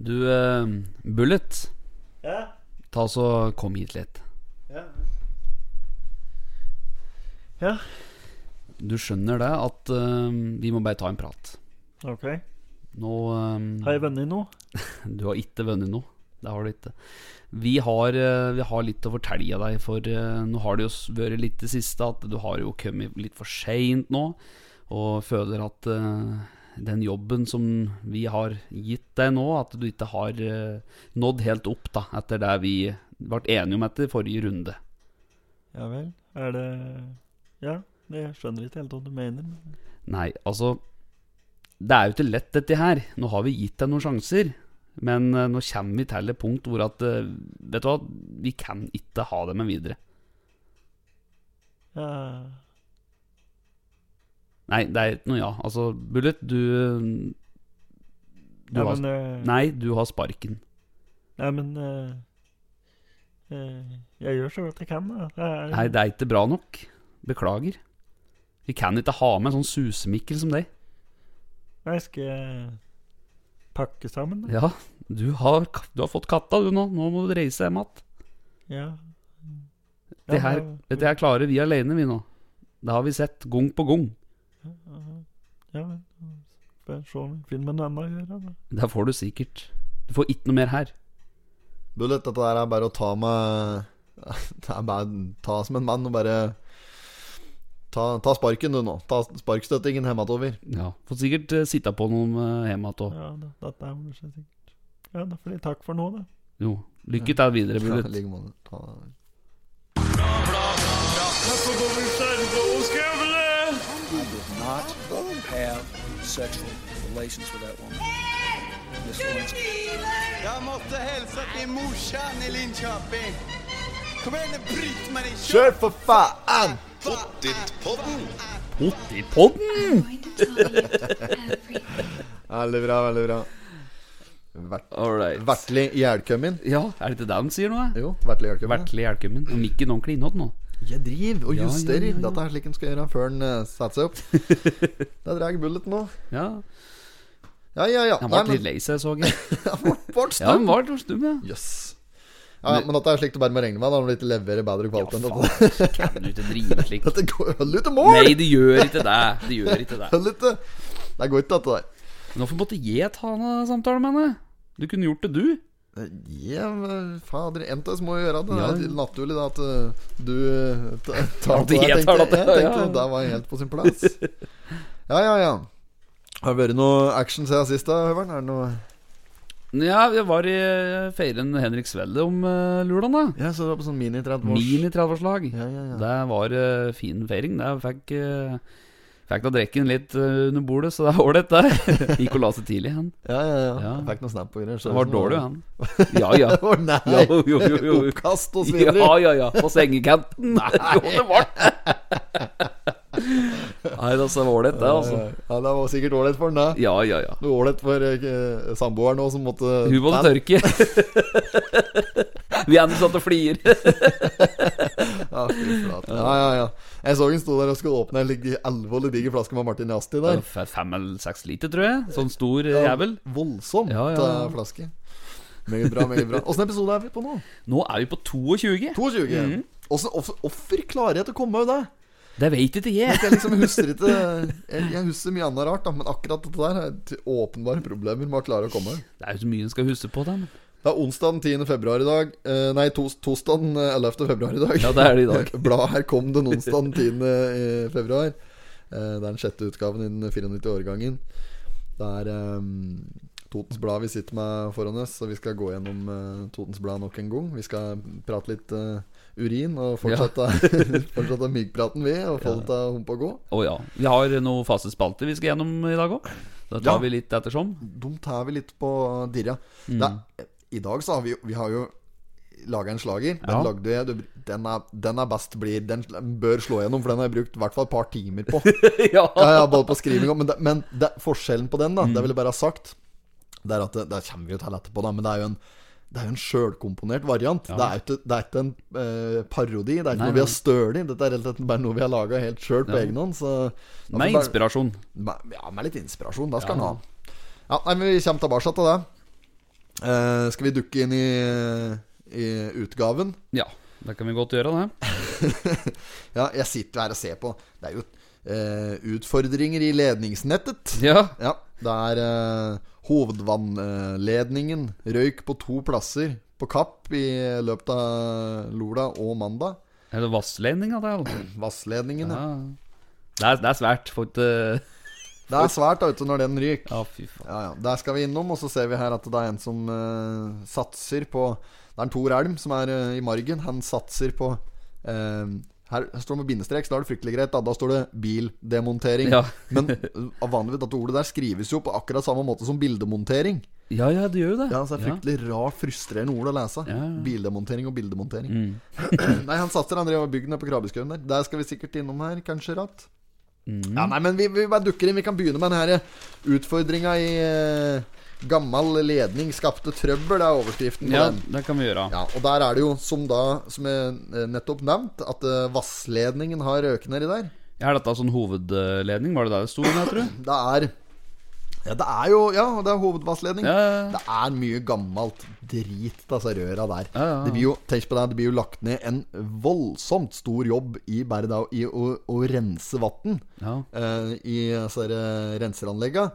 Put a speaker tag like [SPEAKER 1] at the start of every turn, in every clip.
[SPEAKER 1] Du, eh, Bullet,
[SPEAKER 2] Ja,
[SPEAKER 1] ta så kom hit litt.
[SPEAKER 2] ja. ja.
[SPEAKER 1] Du skjønner det at eh, vi må bare ta en prat.
[SPEAKER 2] ok.
[SPEAKER 1] Nå eh,
[SPEAKER 2] Har jeg vunnet noe?
[SPEAKER 1] Du har ikke vunnet noe. Det har du ikke. Vi har, eh, vi har litt å fortelle deg, for eh, nå har det jo s- vært litt det siste at du har jo kommet litt for seint nå, og føler at eh, den jobben som vi har gitt deg nå, at du ikke har eh, nådd helt opp da, etter det vi ble enige om etter forrige runde.
[SPEAKER 2] Ja vel. Er det Ja, jeg skjønner ikke helt hva du mener. men-
[SPEAKER 1] Nei, altså Det er jo ikke lett dette her. Nå har vi gitt deg noen sjanser. Men eh, nå kommer vi til et punkt hvor at eh, Vet du hva, vi kan ikke ha det med videre.
[SPEAKER 2] Ja.
[SPEAKER 1] Nei, det er ikke noe ja. Altså, Bullet, du du
[SPEAKER 2] ja,
[SPEAKER 1] har,
[SPEAKER 2] men eh,
[SPEAKER 1] Nei, du har sparken.
[SPEAKER 2] Nei, men eh, eh, Jeg gjør så godt jeg kan, da. Det er,
[SPEAKER 1] Nei, det er ikke bra nok. Beklager. Vi kan ikke ha med en sånn susemikkel som deg.
[SPEAKER 2] Nei, skal jeg pakke sammen, da?
[SPEAKER 1] Ja, du har, du har fått katta, du nå. Nå må du reise hjem igjen.
[SPEAKER 2] Ja.
[SPEAKER 1] Det her- Dette her klarer vi alene, vi nå. Det har vi sett gang på gang.
[SPEAKER 2] Ja, ja, men Får jeg se om jeg finner meg noe annet å gjøre, da.
[SPEAKER 1] Det får du sikkert. Du får ikke noe mer her.
[SPEAKER 3] Bullet, dette der er bare å ta med Det er bare å ta som en mann og bare Ta, ta sparken, du, nå. Ta sparkstøttingen hjemover.
[SPEAKER 1] Ja, Får sikkert eh, sitte på noen eh, hjemme igjen òg.
[SPEAKER 2] Ja, da, dette er vel så sikkert. Ja, da får jeg takk for nå, da.
[SPEAKER 1] Jo, lykke til videre,
[SPEAKER 3] Ja,
[SPEAKER 1] Bullet.
[SPEAKER 3] like måte. Ta-
[SPEAKER 4] I did not have sexual relations with that woman. Miss Lewinsky.
[SPEAKER 5] Jeg måtte hilse til morsan i Linköping. Kom igjen, Britt-Marie,
[SPEAKER 3] Kjør, for faen!
[SPEAKER 1] Potipodden!
[SPEAKER 6] going to tell you everything.
[SPEAKER 3] Veldig bra, veldig bra. Vert,
[SPEAKER 1] All right.
[SPEAKER 3] vertlig ihjelkømmin.
[SPEAKER 1] Ja, er det ikke det de sier nå? eh?
[SPEAKER 3] Jo, vertlig ihjelkømmin.
[SPEAKER 1] Vertelig hjelkemunn. Og mikken ordentlig innhold nå.
[SPEAKER 3] Jeg driver og
[SPEAKER 1] Ja, ja,
[SPEAKER 3] justerer.
[SPEAKER 1] ja, ja.
[SPEAKER 3] Dette er slik en skal gjøre før en eh, setter seg opp. Der drar jeg bullet nå.
[SPEAKER 1] Ja,
[SPEAKER 3] Ja, ja, ja.
[SPEAKER 1] Han
[SPEAKER 3] Nei,
[SPEAKER 1] ble
[SPEAKER 3] men-
[SPEAKER 1] litt lei seg, så jeg.
[SPEAKER 3] Han ble- ble
[SPEAKER 1] Ja, han
[SPEAKER 3] stum.
[SPEAKER 1] var litt stum, ja.
[SPEAKER 3] Jøss. Ja, ja, men dette er slik du bare må regne med når du ikke leverer bedre
[SPEAKER 1] Ja,
[SPEAKER 3] kvalitet enn dette.
[SPEAKER 1] faen, kan du ikke drive slik?
[SPEAKER 3] Dette går holder ut til mål!
[SPEAKER 1] Nei, det gjør ikke det. Det gjør ikke det.
[SPEAKER 3] Holder ikke. Det går ikke, dette der.
[SPEAKER 1] Men Hvorfor måtte jeg ta en eh, samtale med henne? Du kunne gjort det, du.
[SPEAKER 3] Ja, men fader, en av oss må jo gjøre det.
[SPEAKER 1] Ja.
[SPEAKER 3] Det er naturlig da at uh, du uh, ta- tar
[SPEAKER 1] At
[SPEAKER 3] det.
[SPEAKER 1] jeg
[SPEAKER 3] Jeg
[SPEAKER 1] tar
[SPEAKER 3] tenkte,
[SPEAKER 1] det,
[SPEAKER 3] jeg tenkte
[SPEAKER 1] ja.
[SPEAKER 3] det var helt på sin plass. Ja, ja, ja. Har det vært noe action siden sist, da, Høveren? Er det noe
[SPEAKER 1] Ja, jeg var i eh, feiren Henrik Svelle om uh, lørdag, da.
[SPEAKER 3] Ja, så du var på sånn mini-30-års
[SPEAKER 1] Mini-30-årslag.
[SPEAKER 3] Ja, ja, ja.
[SPEAKER 1] Det var eh, fin feiring. Det fikk, eh, fikk da drekken litt eh, under bordet, så det er ålreit, det. Gikk og la seg tidlig, han.
[SPEAKER 3] Ja, ja, ja.
[SPEAKER 1] Ja.
[SPEAKER 3] Jeg Fikk noe snap og greier. så
[SPEAKER 1] Han var
[SPEAKER 3] sånn-
[SPEAKER 1] dårlig, han. Ja, ja.
[SPEAKER 3] Å, nei!
[SPEAKER 1] Jo, jo, jo, jo.
[SPEAKER 3] Oppkast og svineri.
[SPEAKER 1] Ja, ja, ja. På sengekanten. Nei, jo, det var det. Nei, altså, det var ålreit, det, altså.
[SPEAKER 3] Ja, det var sikkert ålreit for han, det.
[SPEAKER 1] Ja, ja, ja.
[SPEAKER 3] Noe ålreit for eh, samboeren òg, som måtte
[SPEAKER 1] Hun måtte tørke. Vi andre satt og flirer.
[SPEAKER 3] Ja, fy flate. Ja, ja, ja. Jeg så hun sto der og skulle åpne en like alvorlig diger flaske med Martin Asti der.
[SPEAKER 1] F- Fem eller seks liter, tror jeg. Sånn stor eh, jævel.
[SPEAKER 3] Voldsomt
[SPEAKER 1] Ja, ja.
[SPEAKER 3] eh, flaske. Meget bra, meget bra. Åssen episode er vi på nå?
[SPEAKER 1] Nå er vi på 22.
[SPEAKER 3] 22.
[SPEAKER 1] Mhm.
[SPEAKER 3] Åssen off offer klarer jeg til å komme av det?
[SPEAKER 1] Det veit ikke jeg.
[SPEAKER 3] Jeg liksom husker ikke Jeg, jeg husker mye annet rart, da, men akkurat dette der er til åpenbare problemer med å klare å komme.
[SPEAKER 1] Det er jo så mye en skal huske på, da. men-
[SPEAKER 3] Det er onsdag den 10. februar i dag. Eh, nei, tos, tosdag den eh, 11. februar i dag.
[SPEAKER 1] Ja, det er det i dag.
[SPEAKER 3] Bladet her kom den onsdag den 10. i februar. Eh, det er den sjette utgaven i den 94-årgangen. Det er eh, Totens Blad vi sitter med foran oss, så vi skal gå gjennom eh, Totens Blad nok en gang. Vi skal prate litt eh, urin og fortsette, fortsette myggpraten, vi. Og få det til å humpe og gå.
[SPEAKER 1] Å ja. Vi har noen faste spalter vi skal gjennom i dag òg. Da tar
[SPEAKER 3] Ja.
[SPEAKER 1] vi litt ettersom.
[SPEAKER 3] De tar vi litt på eh, dirra.
[SPEAKER 1] Mm.
[SPEAKER 3] Det, I dag så har vi, jo- vi har jo laga en slager. Den
[SPEAKER 1] Ja.
[SPEAKER 3] lagde jeg du- den er, den er best blir Den bør slå gjennom, for den har jeg brukt i hvert fall et par timer på.
[SPEAKER 1] ja.
[SPEAKER 3] ja, ja, både på skriving og Men, det, men det, forskjellen på den, da,
[SPEAKER 1] Mm.
[SPEAKER 3] det vil jeg bare ha sagt, det er at eh, det, det kommer vi jo til etterpå, da, men det er jo en det er jo en sjølkomponert variant. Det, er jo ikke, det er ikke en eh, parodi. Det er ikke
[SPEAKER 1] Nei,
[SPEAKER 3] noe vi
[SPEAKER 1] nei.
[SPEAKER 3] har støl i. Dette er rett og slett bare noe vi har laga helt sjøl på
[SPEAKER 1] Ja.
[SPEAKER 3] egen hånd. Så da får
[SPEAKER 1] Med
[SPEAKER 3] bare-
[SPEAKER 1] inspirasjon.
[SPEAKER 3] med- Ja, med litt inspirasjon. Da
[SPEAKER 1] Ja.
[SPEAKER 3] skal han ha. Ja, nei, men Vi kommer tilbake til det. Eh, skal vi dukke inn i, i utgaven?
[SPEAKER 1] Ja, det kan vi godt gjøre, det.
[SPEAKER 3] Ja, jeg sitter her og ser på. Det er jo eh, utfordringer i ledningsnettet.
[SPEAKER 1] Ja,
[SPEAKER 3] Ja, det er eh, hovedvannledningen. Røyk på to plasser på Kapp i løpet av Lola og mandag.
[SPEAKER 1] Er det vassledning av det? eller?
[SPEAKER 3] Vassledningen.
[SPEAKER 1] Ja.
[SPEAKER 3] Ja.
[SPEAKER 1] Det er, det er svært. eh, Får ikke
[SPEAKER 3] Det er svært da, vet du, når den ryker.
[SPEAKER 1] Ja, fy faen.
[SPEAKER 3] Ja, ja. Der skal vi innom, og så ser vi her at det er en som eh, satser på Det er en Tor Elm som er eh, i margen. Han satser på eh, Her står det med bindestrek, så da er det fryktelig greit. Da, da står det 'bildemontering'.
[SPEAKER 1] Ja.
[SPEAKER 3] Men eh, vanligvis dette ordet der skrives jo på akkurat samme måte som bildemontering.
[SPEAKER 1] Ja, ja, det gjør jo det.
[SPEAKER 3] Ja, så det er fryktelig rart, frustrerende ord å lese.
[SPEAKER 1] Ja, ja.
[SPEAKER 3] Bildemontering og bildemontering.
[SPEAKER 1] Mm.
[SPEAKER 3] nei, han satser, han drev og bygde ned på Krabbeskauen der. Der skal vi sikkert innom her, kanskje, Ratt.
[SPEAKER 1] Mm.
[SPEAKER 3] Ja, nei, men vi, vi bare dukker inn. Vi kan begynne med den her utfordringa i eh, Gammal ledning skapte trøbbel, er overskriften på
[SPEAKER 1] Ja,
[SPEAKER 3] den.
[SPEAKER 1] det kan vi gjøre.
[SPEAKER 3] Ja, og der er det jo, som da Som jeg eh, nettopp nevnt, at eh, vassledningen har røket nedi der.
[SPEAKER 1] Er dette sånn hovedledning? Var det der det sto, jeg tror?
[SPEAKER 3] Det er Ja, det er jo Ja, det er hovedvassledning.
[SPEAKER 1] Ja, ja, ja.
[SPEAKER 3] Det er mye gammelt drit av disse røra der.
[SPEAKER 1] Ja, ja, ja.
[SPEAKER 3] Det blir jo, tenk på det, det blir jo lagt ned en voldsomt stor jobb i bare da i å, å rense vann
[SPEAKER 1] ja.
[SPEAKER 3] eh, i altså, eh, renseranlegga.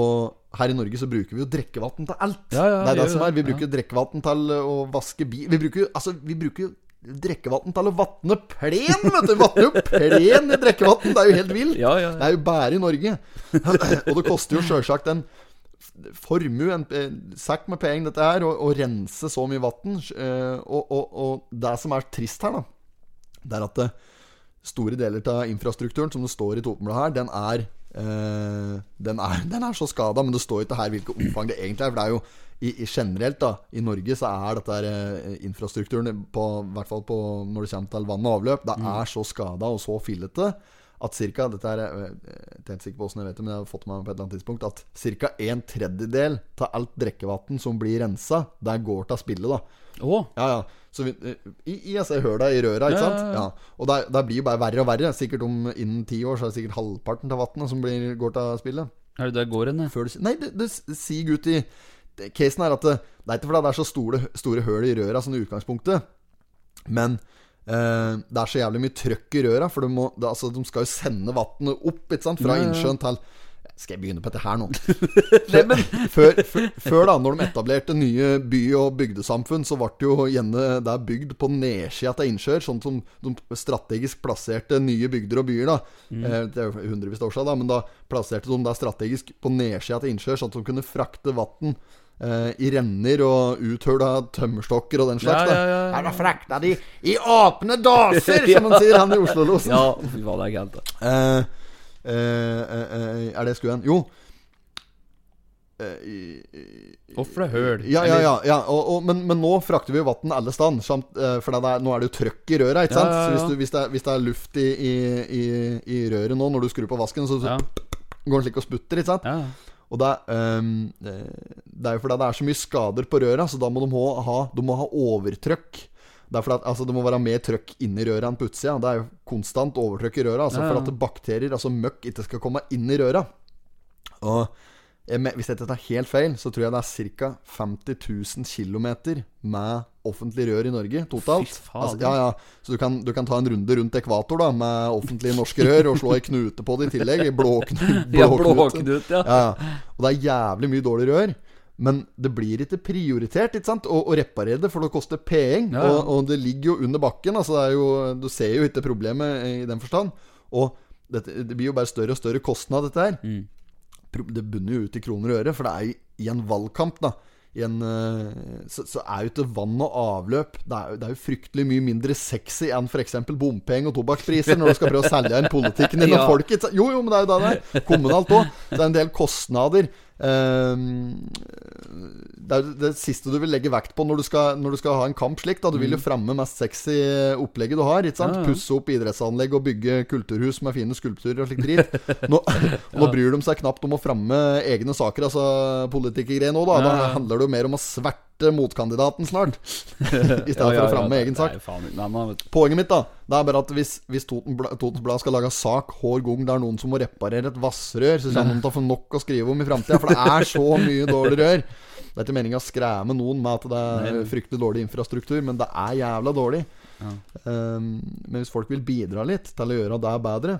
[SPEAKER 3] Og her i Norge så bruker vi jo drikkevann til alt.
[SPEAKER 1] Ja, ja,
[SPEAKER 3] det er det
[SPEAKER 1] gjør
[SPEAKER 3] som
[SPEAKER 1] det.
[SPEAKER 3] er. Vi bruker drikkevann til å vaske bil Vi bruker jo altså, vi bruker jo drikkevann til å vatne plen, vet du! Vatne jo plen i drikkevann! Det er jo helt vilt!
[SPEAKER 1] Ja, ja, ja.
[SPEAKER 3] Det er jo bare i Norge. og det koster jo sjølsagt en formue, en eh, sekk med penger, dette her, å å rense så mye vann. Og, og, og det som er trist her, da, det er at eh, det, store deler av infrastrukturen som det står i Totenbladet her, den er, eh, den er Den er så skada, men det står ikke her hvilket omfang det egentlig er. For det er jo i, i generelt, da, i Norge så er dette her, eh, infrastrukturen, på, i hvert fall på, når det kommer til vann og avløp, det er så skada og så fillete at cirka, dette her, er- jeg er ikke helt sikker på hvordan jeg vet det, men jeg har fått med meg på et eller annet tidspunkt at ca. en tredjedel av alt drikkevann som blir rensa, der går til spille, da.
[SPEAKER 1] Å,
[SPEAKER 3] Ja, ja. Så vi, eh, i, i, altså, jeg hører deg i røra, ikke
[SPEAKER 1] Ja, ja,
[SPEAKER 3] sant?
[SPEAKER 1] ja.
[SPEAKER 3] Ja. Og det, er- det blir jo bare verre og verre. Sikkert om innen ti år så er det sikkert halvparten av vannet som blir, går til spillet.
[SPEAKER 1] er det der går hen? det?
[SPEAKER 3] Før det, nei, det, det siger ut i det- Casen er at det, det er ikke fordi det er så store, store høl i røra sånn i utgangspunktet, men eh, det er så jævlig mye trøkk i røra, for det må, det, altså, de skal jo sende vannet opp ikke sant?
[SPEAKER 1] Ja,
[SPEAKER 3] fra
[SPEAKER 1] ja, ja.
[SPEAKER 3] innsjøen til Skal jeg begynne på dette her nå? før, før, før da, når de etablerte nye by- og bygdesamfunn, så ble det jo gjerne det er bygd på nedsida av innsjøer, sånn som de strategisk plasserte nye bygder og byer, da.
[SPEAKER 1] Mm.
[SPEAKER 3] Eh, Det er jo hundrevis av år siden, da, men da plasserte de det strategisk på nedsida av innsjøer, sånn at de kunne frakte vann eh, i renner og uthøla tømmerstokker og den slags.
[SPEAKER 1] Ja, ja, ja, ja.
[SPEAKER 3] da. Her var frakta de i åpne daser, som han sier, han i Oslo-losen.
[SPEAKER 1] Ja, fy faen, det er gærent, det.
[SPEAKER 3] Eh, eh, eh, eh, er det skuen? Jo. Eh, i- i-
[SPEAKER 1] Hvorfor det høl?
[SPEAKER 3] ja, ja, ja, ja. Og, og, men, men nå frakter vi jo vann alle steder. samt, eh, For det er, nå er det jo trøkk i røra. Ikke
[SPEAKER 1] Ja,
[SPEAKER 3] sant?
[SPEAKER 1] ja, ja.
[SPEAKER 3] Så hvis, du, hvis, det er, hvis det er luft i, i, i, i røret nå når du skrur på vasken, så, så
[SPEAKER 1] Ja.
[SPEAKER 3] går den slik og sputter. Ikke sant?
[SPEAKER 1] Ja,
[SPEAKER 3] Og det, er, ehm, eh, det er jo fordi det er så mye skader på røra, så da må de ha- ha, de må ha overtrøkk. Det, er fordi at, altså, det må være mer trøkk inni røra enn på utsida. Det er jo konstant overtrøkk i røra, altså,
[SPEAKER 1] Ja, ja.
[SPEAKER 3] for at bakterier, altså møkk, ikke skal komme inn i røra. Og jeg, men- hvis jeg ikke tar helt feil, så tror jeg det er ca. 50 000 km med offentlig rør i Norge totalt.
[SPEAKER 1] Fy faen.
[SPEAKER 3] Altså, ja, ja. Så du kan, du kan ta en runde rundt ekvator da med offentlige norske rør og slå ei knute på det i tillegg. i Blåknu,
[SPEAKER 1] ja
[SPEAKER 3] blåknute.
[SPEAKER 1] blåknut, ja.
[SPEAKER 3] Ja, ja. Og det er jævlig mye dårlig rør. Men det blir ikke prioritert ikke sant? Å, å reparere det, for det koster penger.
[SPEAKER 1] Ja, ja.
[SPEAKER 3] Og, og det ligger jo under bakken. Altså det er jo, du ser jo ikke problemet i den forstand. Og dette, det blir jo bare større og større kostnad, dette her. Pro- Det bunner jo ut i kroner og øre, for det er jo i en valgkamp, da. I en, eh, så, så er jo ikke vann og avløp det er, jo- det er jo fryktelig mye mindre sexy enn f.eks. bompenger og tobakkspriser når du skal prøve å selge inn politikken din.
[SPEAKER 1] Ja.
[SPEAKER 3] Og folk ikke sa- Jo, jo, men det er jo det det er. Kommunalt òg. Det er en del kostnader. Ehm, det er jo det siste du vil legge vekt på når du skal, når du skal ha en kamp slik. Da. Du vil jo fremme mest sexy eh, opplegget du har. Ikke sant?
[SPEAKER 1] Mm. Ja, ja.
[SPEAKER 3] Pusse opp idrettsanlegg og bygge kulturhus med fine skulpturer og slik drit. Nå, og nå bryr de seg knapt om å fremme egne saker, altså politikergreier nå,
[SPEAKER 1] Ja,
[SPEAKER 3] da. Da
[SPEAKER 1] ja.
[SPEAKER 3] handler det jo mer om å sverte motkandidaten snart, i stedet for å fremme egen sak.
[SPEAKER 1] Nei, faen ikke. Nei, nei, vet du.
[SPEAKER 3] Poenget mitt da Det er bare at hvis, hvis Toten Bla- Totens Blad skal lage sak hver gang det er noen som må reparere et vassrør, så kommer de til å få nok å skrive om i framtida, for det er så mye dårlig rør. Det er ikke meninga å skremme noen med at det
[SPEAKER 1] Nei,
[SPEAKER 3] er
[SPEAKER 1] nei.
[SPEAKER 3] fryktelig dårlig infrastruktur, men det er jævla dårlig.
[SPEAKER 1] Ja.
[SPEAKER 3] Ehm, men hvis folk vil bidra litt til å gjøre det bedre,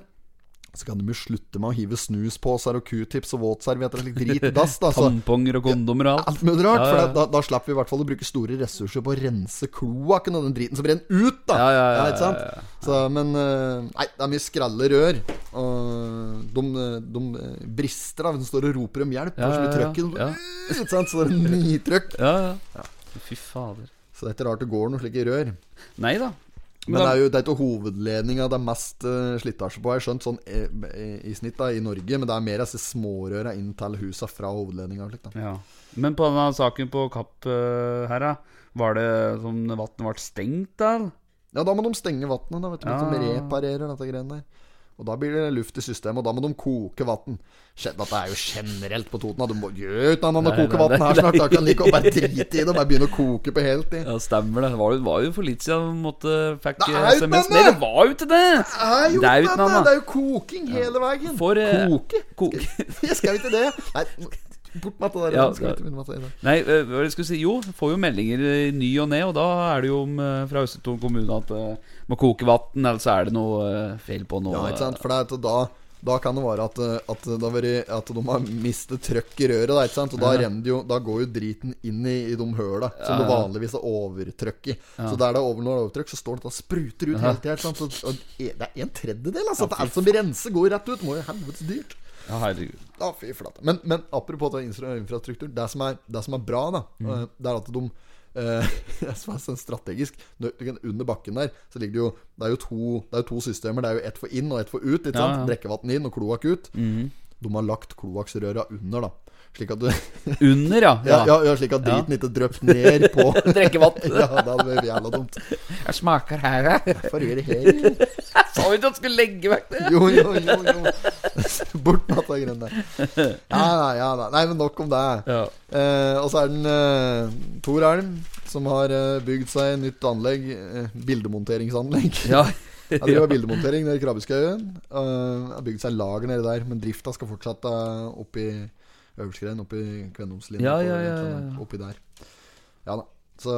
[SPEAKER 3] så kan de jo slutte med å hive snusposer og q-tips og våtservietter og slik drit i dass. da, så-
[SPEAKER 1] Tamponger og kondomer og alt.
[SPEAKER 3] Altså, Alt mulig rart.
[SPEAKER 1] Ja, ja,
[SPEAKER 3] For
[SPEAKER 1] ja.
[SPEAKER 3] da, da, da slipper vi i hvert fall å bruke store ressurser på å rense kloakken og den driten som renner ut, da.
[SPEAKER 1] Ja, ja, ja,
[SPEAKER 3] ikke sant?
[SPEAKER 1] ja, ja,
[SPEAKER 3] Så, men eh, Nei, det er mye skralle rør. Og de, de eh, brister da, hvis de står og roper om hjelp.
[SPEAKER 1] Ja,
[SPEAKER 3] Ja, så
[SPEAKER 1] ja,
[SPEAKER 3] mye
[SPEAKER 1] ja.
[SPEAKER 3] trøkk i dem.
[SPEAKER 1] Ja.
[SPEAKER 3] Ikke sant? Så det er nitrøkk.
[SPEAKER 1] Ja, ja. Fy fader.
[SPEAKER 3] Så det er ikke rart det går noen slike rør.
[SPEAKER 1] Nei da.
[SPEAKER 3] Men det er jo det er ikke hovedledninga det er mest eh, slitasje på, har jeg skjønt, sånn eh, eh, i snitt da, i Norge. Men det er mer disse smårøra inn til husa fra hovedledninga. og slikt, da.
[SPEAKER 1] Ja. Men på denne saken på Kapp eh, her, da. Var det som vannet ble stengt, da? eller?
[SPEAKER 3] Ja, da må de stenge vannet, da, vet du. mens
[SPEAKER 1] Ja.
[SPEAKER 3] De reparerer dette greiene der. Og da blir det luft i systemet, og da må de koke vann. Dette er jo generelt på Toten. da. Du må gjøre ut annet enn å
[SPEAKER 1] Nei,
[SPEAKER 3] koke
[SPEAKER 1] nei,
[SPEAKER 3] vann
[SPEAKER 1] nei,
[SPEAKER 3] her snart. Da kan du like godt bare drite i det og bare begynne å koke på heltid.
[SPEAKER 1] Ja, stemmer det. Det var, jo- var jo for litt siden vi måtte fikk eh,
[SPEAKER 3] Det er jo
[SPEAKER 1] SMS.
[SPEAKER 3] ikke
[SPEAKER 1] Nei, det
[SPEAKER 3] annet!
[SPEAKER 1] var jo ikke det!
[SPEAKER 3] Er jo
[SPEAKER 1] Det er jo
[SPEAKER 3] ikke
[SPEAKER 1] ikke
[SPEAKER 3] annet,
[SPEAKER 1] annet.
[SPEAKER 3] det er jo koking hele veien.
[SPEAKER 1] For, eh,
[SPEAKER 3] koke?
[SPEAKER 1] koke.
[SPEAKER 3] Jeg skal jo ikke det. Nei, bort med det der.
[SPEAKER 1] Ja,
[SPEAKER 3] skal vi ikke begynne med det der.
[SPEAKER 1] Nei, eh, hva jeg skulle si Jo, får jo meldinger i ny og ne, og da er det jo om, eh, fra Østetårn kommune at eh, må koke vann, eller så er det noe eh, feil på noe
[SPEAKER 3] Ja, ikke sant? For det er at da da kan det være at, eh, at, det har vært, at de har mistet trøkk i røret. Da, ikke sant? Og da,
[SPEAKER 1] Ja.
[SPEAKER 3] renner det jo, da går jo driten inn i, i de høla som det
[SPEAKER 1] Ja.
[SPEAKER 3] vanligvis er overtrøkk i. Så der det er over, når det er overtrøkk, så står det at det spruter ut hele tida. ikke sant? Så- og e- Det er en tredjedel. Altså, at alt som renser, går rett ut. Må jo helvetes dyrt.
[SPEAKER 1] Ja, herregud.
[SPEAKER 3] Ja, fy flate. Men, men apropos det infra- infrastruktur. Det som er, det som er bra, da, eh, det er at de eh, det som er sånn strategisk du- du kan- Under bakken der Så ligger det jo Det er jo to, det er jo to systemer. Det er jo ett for inn og ett for ut. Ikke sant?
[SPEAKER 1] ja.
[SPEAKER 3] Drikkevann inn og kloakk ut.
[SPEAKER 1] Mhm.
[SPEAKER 3] De har lagt kloakksrøra under, da. Slik at du
[SPEAKER 1] Under, ja.
[SPEAKER 3] Ja, ja, ja slik at driten ikke drypp ned på
[SPEAKER 1] Drikkevann.
[SPEAKER 3] Ja, det hadde vært jævla dumt.
[SPEAKER 1] Jeg smaker her, jeg.
[SPEAKER 3] Hvorfor gjør det her?
[SPEAKER 1] Sa vi ikke at du skulle legge vekk det?
[SPEAKER 3] Jo, jo, jo. jo. Bort med de greiene der. Ja, nei, ja, nei. nei, men nok om det.
[SPEAKER 1] Ja.
[SPEAKER 3] Eh, og så er den eh, Tor Elm, som har eh, bygd seg nytt anlegg. Eh, bildemonteringsanlegg.
[SPEAKER 1] ja.
[SPEAKER 3] Jeg driver med bildemontering nede i Krabbeskauen. Eh, har bygd seg lager nede der, men drifta skal eh, fortsette oppi Øversgrein, oppi Kvendomslinja.
[SPEAKER 1] Ja,
[SPEAKER 3] på-
[SPEAKER 1] ja, ja, ja.
[SPEAKER 3] Oppi der. Ja da. Så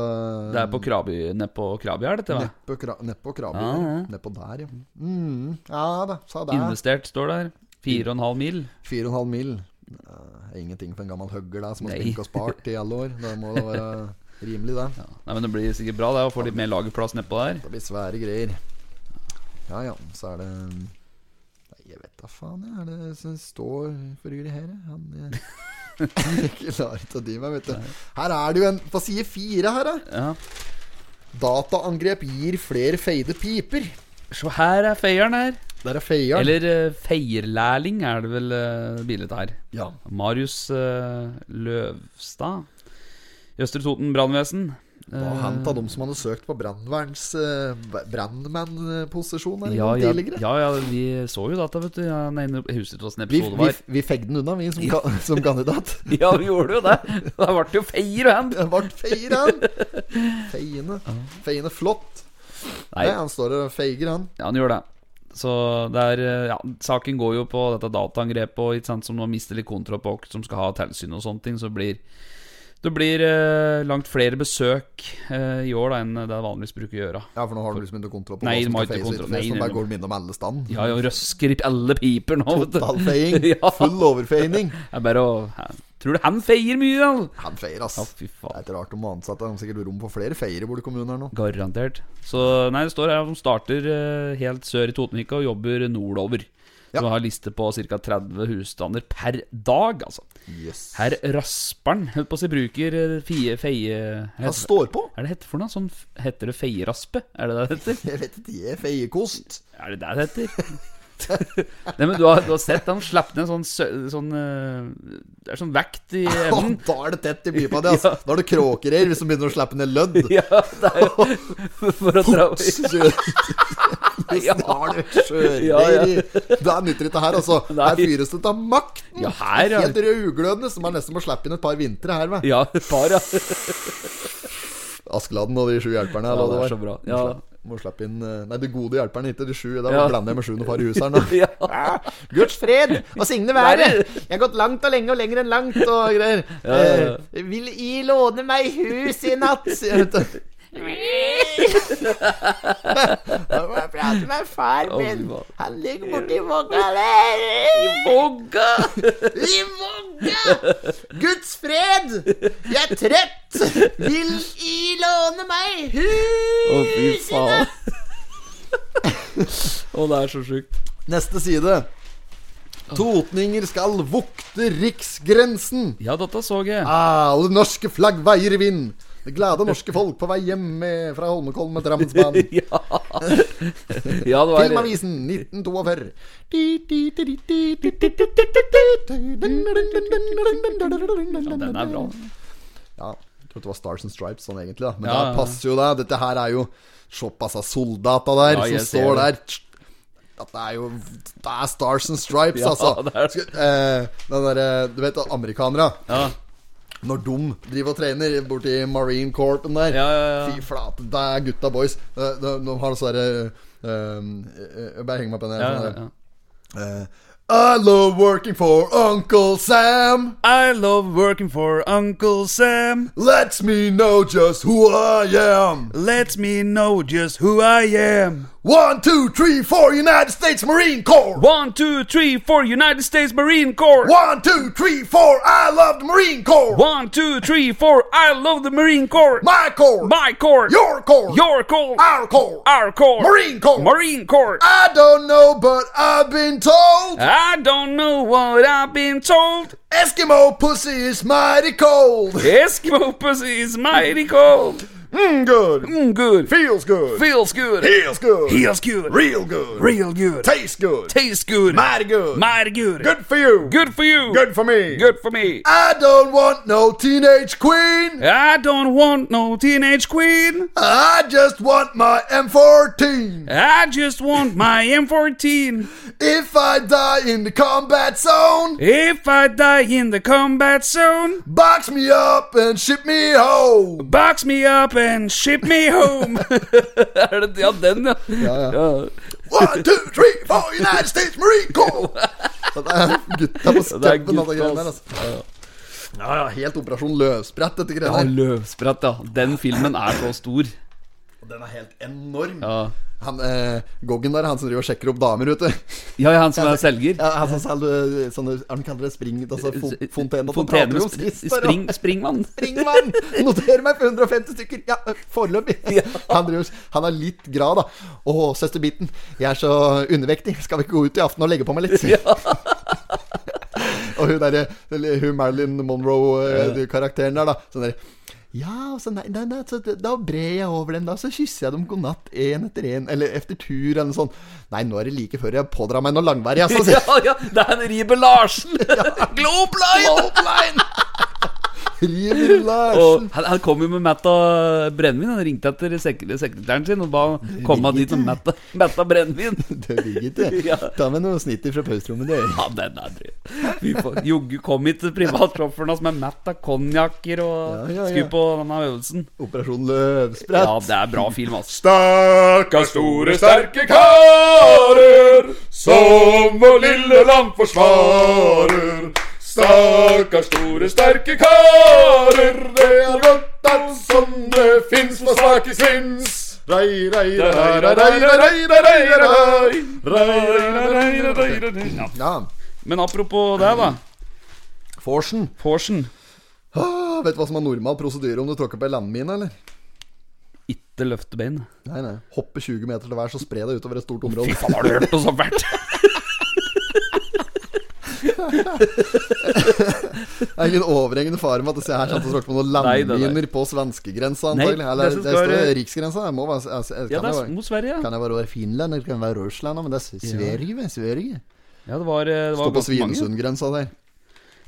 [SPEAKER 1] Det er på Krabi, nedpå Krabi her, dette, hva?
[SPEAKER 3] Nedpå kra, ned på Krabbøy.
[SPEAKER 1] Ja, ja.
[SPEAKER 3] Nedpå der, ja. Mm, ja da, sa det.
[SPEAKER 1] Investert, står det her. 4,5 mil.
[SPEAKER 3] 4,5 mil. Eh, ingenting for en gammel høgger der som har
[SPEAKER 1] Nei.
[SPEAKER 3] spinka og spart i alle år. Det må da være rimelig, det.
[SPEAKER 1] Ja. Nei, men Det blir sikkert bra det, å få litt mer lagerplass nedpå der.
[SPEAKER 3] Det blir svære greier. Ja ja, så er det Nei, jeg vet da faen, jeg. Er det som står for Yuri her? jeg? Han jeg- jeg klarer ikke å dy meg, vet du. Her er det jo en På side fire her, da.
[SPEAKER 1] Ja.
[SPEAKER 3] Dataangrep gir flere feide piper.
[SPEAKER 1] Se her er feieren her.
[SPEAKER 3] Der er feieren.
[SPEAKER 1] Eller eh, feierlærling er det vel uh, bildet her.
[SPEAKER 3] Ja.
[SPEAKER 1] Marius eh, Løvstad. I Østre Toten brannvesen.
[SPEAKER 3] Hva
[SPEAKER 1] Eh,
[SPEAKER 3] hentet de som hadde søkt på brannverns eh, brannmannposisjon her i
[SPEAKER 1] ja,
[SPEAKER 3] gang
[SPEAKER 1] ja,
[SPEAKER 3] tidligere?
[SPEAKER 1] ja, ja, vi så jo dette, vet du. Ja, nei, nå- jeg husker ikke åssen
[SPEAKER 3] Vi,
[SPEAKER 1] episode det
[SPEAKER 3] vi,
[SPEAKER 1] var.
[SPEAKER 3] vi fegde den unna, vi, som, ka- som kandidat.
[SPEAKER 1] Ja, vi gjorde jo det. Da ble det jo feier og hand.
[SPEAKER 3] Det ble feier, han. Feiende. Feiende flott. Nei.
[SPEAKER 1] Nei,
[SPEAKER 3] han står og feiger, han.
[SPEAKER 1] ja, han gjør det. Så det er, eh, ja, Saken går jo på dette dataangrepet og ikke sant, som nå mister litt kontroll på oss som skal ha tilsyn og sånne ting. Så blir det blir eh, langt flere besøk eh, i år da enn det vanligvis bruker å gjøre.
[SPEAKER 3] Ja, for nå har du liksom ikke kontroll på
[SPEAKER 1] Nei, de
[SPEAKER 3] hva som
[SPEAKER 1] har ikke
[SPEAKER 3] skal feies og ikke
[SPEAKER 1] kontroll.
[SPEAKER 3] feies.
[SPEAKER 1] Nei,
[SPEAKER 3] Sånn
[SPEAKER 1] nei,
[SPEAKER 3] bare går de innom alle stand.
[SPEAKER 1] Ja, ja, røsker i alle piper nå, vet du.
[SPEAKER 3] Totalfeiing.
[SPEAKER 1] Ja.
[SPEAKER 3] Full overfeining.
[SPEAKER 1] Det er bare å Tror du han feier mye, da?
[SPEAKER 3] Han feier, ass.
[SPEAKER 1] Ja, fy
[SPEAKER 3] Det er
[SPEAKER 1] faen.
[SPEAKER 3] ikke rart om ansatte har sikkert rom for flere feiere hvor det kommunen er nå.
[SPEAKER 1] Garantert. Så nei, det står her at de starter eh, helt sør i Totenvika og jobber nordover.
[SPEAKER 3] Ja.
[SPEAKER 1] Så de har liste på ca. 30 husstander per dag, altså.
[SPEAKER 3] Yes.
[SPEAKER 1] Her rasper han, holdt på å si, bruker eh, fie, feie...
[SPEAKER 3] Han
[SPEAKER 1] Er
[SPEAKER 3] står på.
[SPEAKER 1] det hette for noe? Sånn, f- heter det feieraspe? Er det det det heter?
[SPEAKER 3] Jeg vet ikke, jeg er feiekost.
[SPEAKER 1] Er det det det heter? Nei, men du har, du har sett han slapp ned sånn, sø- sånn eh, Det er sånn vekt i
[SPEAKER 3] Åh,
[SPEAKER 1] evnen.
[SPEAKER 3] da er det tett i pipa di, ass.
[SPEAKER 1] Ja.
[SPEAKER 3] Da er det kråkereir hvis de begynner å slippe ned lødd.
[SPEAKER 1] Ja, det er jo For å dra
[SPEAKER 3] Snart skjører
[SPEAKER 1] Ja, ja.
[SPEAKER 3] Det er nytter ikke her, altså.
[SPEAKER 1] Nei.
[SPEAKER 3] Her fyres det av makten.
[SPEAKER 1] Ja, her, ja.
[SPEAKER 3] Helt rødglødende, som er nesten må slippe inn et par vintre her. Med.
[SPEAKER 1] Ja, par, ja.
[SPEAKER 3] Askeladden og de sju hjelperne.
[SPEAKER 1] Ja,
[SPEAKER 3] eller
[SPEAKER 1] det
[SPEAKER 3] hva
[SPEAKER 1] er så bra. Ja,
[SPEAKER 3] Må slappe inn eh, Nei, det gode hjelper den ikke, det sju. Da
[SPEAKER 1] Ja.
[SPEAKER 3] blander jeg med sjuende far i huseren, da.
[SPEAKER 1] Ja.
[SPEAKER 3] Guds fred og signe været. Jeg har gått langt og lenge og lenger enn langt og greier.
[SPEAKER 1] Ja, ja, ja.
[SPEAKER 3] Eh, vil I låne meg hus i natt? sier hun. Jeg må prate med far min.
[SPEAKER 1] Å,
[SPEAKER 3] Han ligger borti vogga der. I vogga! I vogga! Guds fred! Jeg er trøtt! Vil I låne meg hus?
[SPEAKER 1] Å, fy faen. Å, det er så sjukt.
[SPEAKER 3] Neste side. Totninger skal vokte riksgrensen.
[SPEAKER 1] Ja, dette så jeg.
[SPEAKER 3] Ah, og det norske flagg veier i vind. Det glade norske folk på vei hjem med, fra Holmenkollen med Drammensbanen.
[SPEAKER 1] Ja, ja det var
[SPEAKER 3] Filmavisen 1942. Den
[SPEAKER 1] Den er bra.
[SPEAKER 3] Ja, jeg tror det var Stars and Stripes sånn egentlig, da. Men
[SPEAKER 1] Ja,
[SPEAKER 3] da
[SPEAKER 1] ja.
[SPEAKER 3] passer jo det. Dette her er jo Såpass av soldata der
[SPEAKER 1] Ja, jeg
[SPEAKER 3] som
[SPEAKER 1] ser
[SPEAKER 3] står der. At det er jo Det er Stars and Stripes,
[SPEAKER 1] Ja,
[SPEAKER 3] altså.
[SPEAKER 1] det er det.
[SPEAKER 3] Skal- eh, den derre Du vet amerikanere.
[SPEAKER 1] Ja,
[SPEAKER 3] Når de driver og trener borti Marine Corpen der.
[SPEAKER 1] ja, ja, ja.
[SPEAKER 3] Fy flate, det er gutta boys. De, de, de har sånn derre eh, eh, Bare heng meg på den her.
[SPEAKER 1] ja,
[SPEAKER 3] sånn
[SPEAKER 1] ja,
[SPEAKER 3] der.
[SPEAKER 1] ja.
[SPEAKER 3] Eh, I love working for Uncle Sam.
[SPEAKER 1] I love working for Uncle Sam.
[SPEAKER 3] Lets me know just who I am.
[SPEAKER 1] Let me know just who I am.
[SPEAKER 3] One, two, three, four, United States Marine Corps.
[SPEAKER 1] One, two, three, four, United States Marine Corps.
[SPEAKER 3] One, two, three, four, I love the Marine Corps.
[SPEAKER 1] One, two, three, four, I love the Marine Corps.
[SPEAKER 3] My Corps.
[SPEAKER 1] My Corps.
[SPEAKER 3] Your Corps.
[SPEAKER 1] Your Corps.
[SPEAKER 3] Our Corps.
[SPEAKER 1] Our Corps.
[SPEAKER 3] Marine Corps.
[SPEAKER 1] Marine Corps.
[SPEAKER 3] I don't know, but I've been told
[SPEAKER 1] I don't know what I've been told.
[SPEAKER 3] Eskimo pussy is mighty cold.
[SPEAKER 1] Eskimo pussy is mighty cold.
[SPEAKER 3] Mmm, good.
[SPEAKER 1] Mm, good.
[SPEAKER 3] Feels good.
[SPEAKER 1] Feels good.
[SPEAKER 3] Feels good.
[SPEAKER 1] Feels good.
[SPEAKER 3] Real good.
[SPEAKER 1] Real good.
[SPEAKER 3] Tastes good.
[SPEAKER 1] Tastes good.
[SPEAKER 3] mighty good.
[SPEAKER 1] Mighty good.
[SPEAKER 3] good for you.
[SPEAKER 1] Good for you.
[SPEAKER 3] Good for me.
[SPEAKER 1] Good for me.
[SPEAKER 3] I don't want no teenage queen.
[SPEAKER 1] I don't want no teenage queen.
[SPEAKER 3] I just want my M14.
[SPEAKER 1] I just want my M14.
[SPEAKER 3] If I die in the combat zone,
[SPEAKER 1] If I die in the combat zone,
[SPEAKER 3] box me up and ship me home.
[SPEAKER 1] box me up and ship me home. er det ja, den, ja?
[SPEAKER 3] ja.
[SPEAKER 1] Ja.
[SPEAKER 3] One, two, three, four, United States Marine Corps. Det er gutta på skauen
[SPEAKER 1] Det er
[SPEAKER 3] av de
[SPEAKER 1] gutta,
[SPEAKER 3] greiene der,
[SPEAKER 1] ass.
[SPEAKER 3] altså. Ja, ja, helt Operasjon Løvsprett, dette greiene
[SPEAKER 1] Ja,
[SPEAKER 3] her.
[SPEAKER 1] løvsprett, ja. Den filmen er så stor.
[SPEAKER 3] Den er helt enorm.
[SPEAKER 1] Ja,
[SPEAKER 3] Han, eh, Goggen der, han som driver og sjekker opp damer, vet du.
[SPEAKER 1] ja han som er selger.
[SPEAKER 3] Ja, han som selger eh, sånne Han kaller det spring... Altså fon- fontene. at han
[SPEAKER 1] Fontene
[SPEAKER 3] prater om
[SPEAKER 1] spr
[SPEAKER 3] sist der,
[SPEAKER 1] spring,
[SPEAKER 3] og-
[SPEAKER 1] Springmann.
[SPEAKER 3] Springvann! Noter meg for 150 stykker. Ja, foreløpig. Han, driver, han har litt grad, da. Å, søster Bitten, jeg er så undervektig. Skal vi ikke gå ut i aften og legge på meg litt? og hun derre eller Hun Marilyn Monroe-karakteren der, da. Sånn der, ja, og så nei, nei, nei, så da brer jeg over dem, da. Så kysser jeg dem god natt, én etter én, eller etter tur, eller noe sånt. Nei, nå er det like før jeg pådrar meg noe langvarig, altså.
[SPEAKER 1] Ja, ja, det er en Riiber Larsen! Globeline!
[SPEAKER 3] River
[SPEAKER 1] Og
[SPEAKER 3] Larsen.
[SPEAKER 1] han, han kom jo med Metta brennevin. Han ringte etter sek sekretæren sin og ba han komme dit med Metta, Metta brennevin.
[SPEAKER 3] Det ligger
[SPEAKER 1] Ja.
[SPEAKER 3] ikke. Ta med noen snitter fra pauserommet, du.
[SPEAKER 1] Ja, den er drøy. Fy faen. Joggu kom hit til privatsjåføren hans med Mett av konjakker og
[SPEAKER 3] Ja, ja, ja.
[SPEAKER 1] skulle på denne øvelsen. Ja,
[SPEAKER 3] Operasjon Løvsprett.
[SPEAKER 1] det er bra film, ass.
[SPEAKER 7] Stakkars store, sterke karer som vår lille land forsvarer. Stakkars store, sterke karer, det er godt at sånne fins for svake sinns.
[SPEAKER 3] Rei, rei, rei,
[SPEAKER 7] Rei,
[SPEAKER 3] rei,
[SPEAKER 7] rei, rei, rei, rei, rei, rei. Rei, rei, rei, rei, rei, rei.
[SPEAKER 1] Ja.
[SPEAKER 3] Ja,
[SPEAKER 1] Men apropos det, da.
[SPEAKER 3] Forsen.
[SPEAKER 1] Porschen.
[SPEAKER 3] Ah, vet du hva som er normal prosedyre om du tråkker på ei landmine, eller?
[SPEAKER 1] Ikke løfte bein.
[SPEAKER 3] Nei, nei. Hoppe 20 meter til hver, så spre deg utover et stort
[SPEAKER 1] Fy
[SPEAKER 3] område.
[SPEAKER 1] faen, har du hørt noe sånt fælt?
[SPEAKER 3] Det er ingen overhengende fare med at disse her satt og tråkket på noen
[SPEAKER 1] Nei, nei, nei.
[SPEAKER 3] landminer på svenskegrensa,
[SPEAKER 1] Nei,
[SPEAKER 3] antagelig. Eller
[SPEAKER 1] det
[SPEAKER 3] det
[SPEAKER 1] som skal
[SPEAKER 3] står
[SPEAKER 1] være-
[SPEAKER 3] riksgrensa. Det må være
[SPEAKER 1] Ja,
[SPEAKER 3] altså, kan,
[SPEAKER 1] det
[SPEAKER 3] det
[SPEAKER 1] er
[SPEAKER 3] være,
[SPEAKER 1] mot Sverige, ja.
[SPEAKER 3] kan det være Finland, eller kan det være Russland? Men det er S- Sverige, vel? Sverige.
[SPEAKER 1] ja det var, eh, det var
[SPEAKER 3] Står på
[SPEAKER 1] ganske mange.
[SPEAKER 3] Svinesundgrensa der.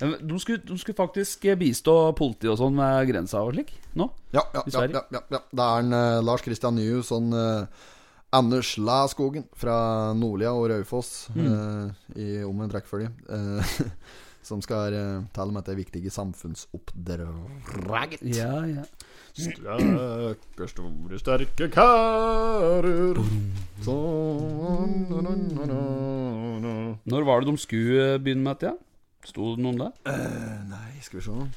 [SPEAKER 1] Ja, men De skulle, de skulle faktisk eh, bistå politi og sånn med grensa og slik nå.
[SPEAKER 3] Ja, ja,
[SPEAKER 1] I
[SPEAKER 3] ja,
[SPEAKER 1] Sverige.
[SPEAKER 3] ja, ja, ja. Det er en eh, Lars Kristian Nyhus og en eh, Anders
[SPEAKER 1] Mm.
[SPEAKER 3] Laskogen fra Nordlia og Raufoss eh, i omvendt rekkefølge. Eh, Som skal eh, tale om dette viktige samfunnsoppdraget.
[SPEAKER 1] Ja, ja.
[SPEAKER 8] Stakkars store, sterke karer
[SPEAKER 3] Sånn, na, na, na, na, na.
[SPEAKER 1] Når var det de skulle eh, begynne med dette? Ja? Sto det noe om det?
[SPEAKER 3] Nei, skal vi se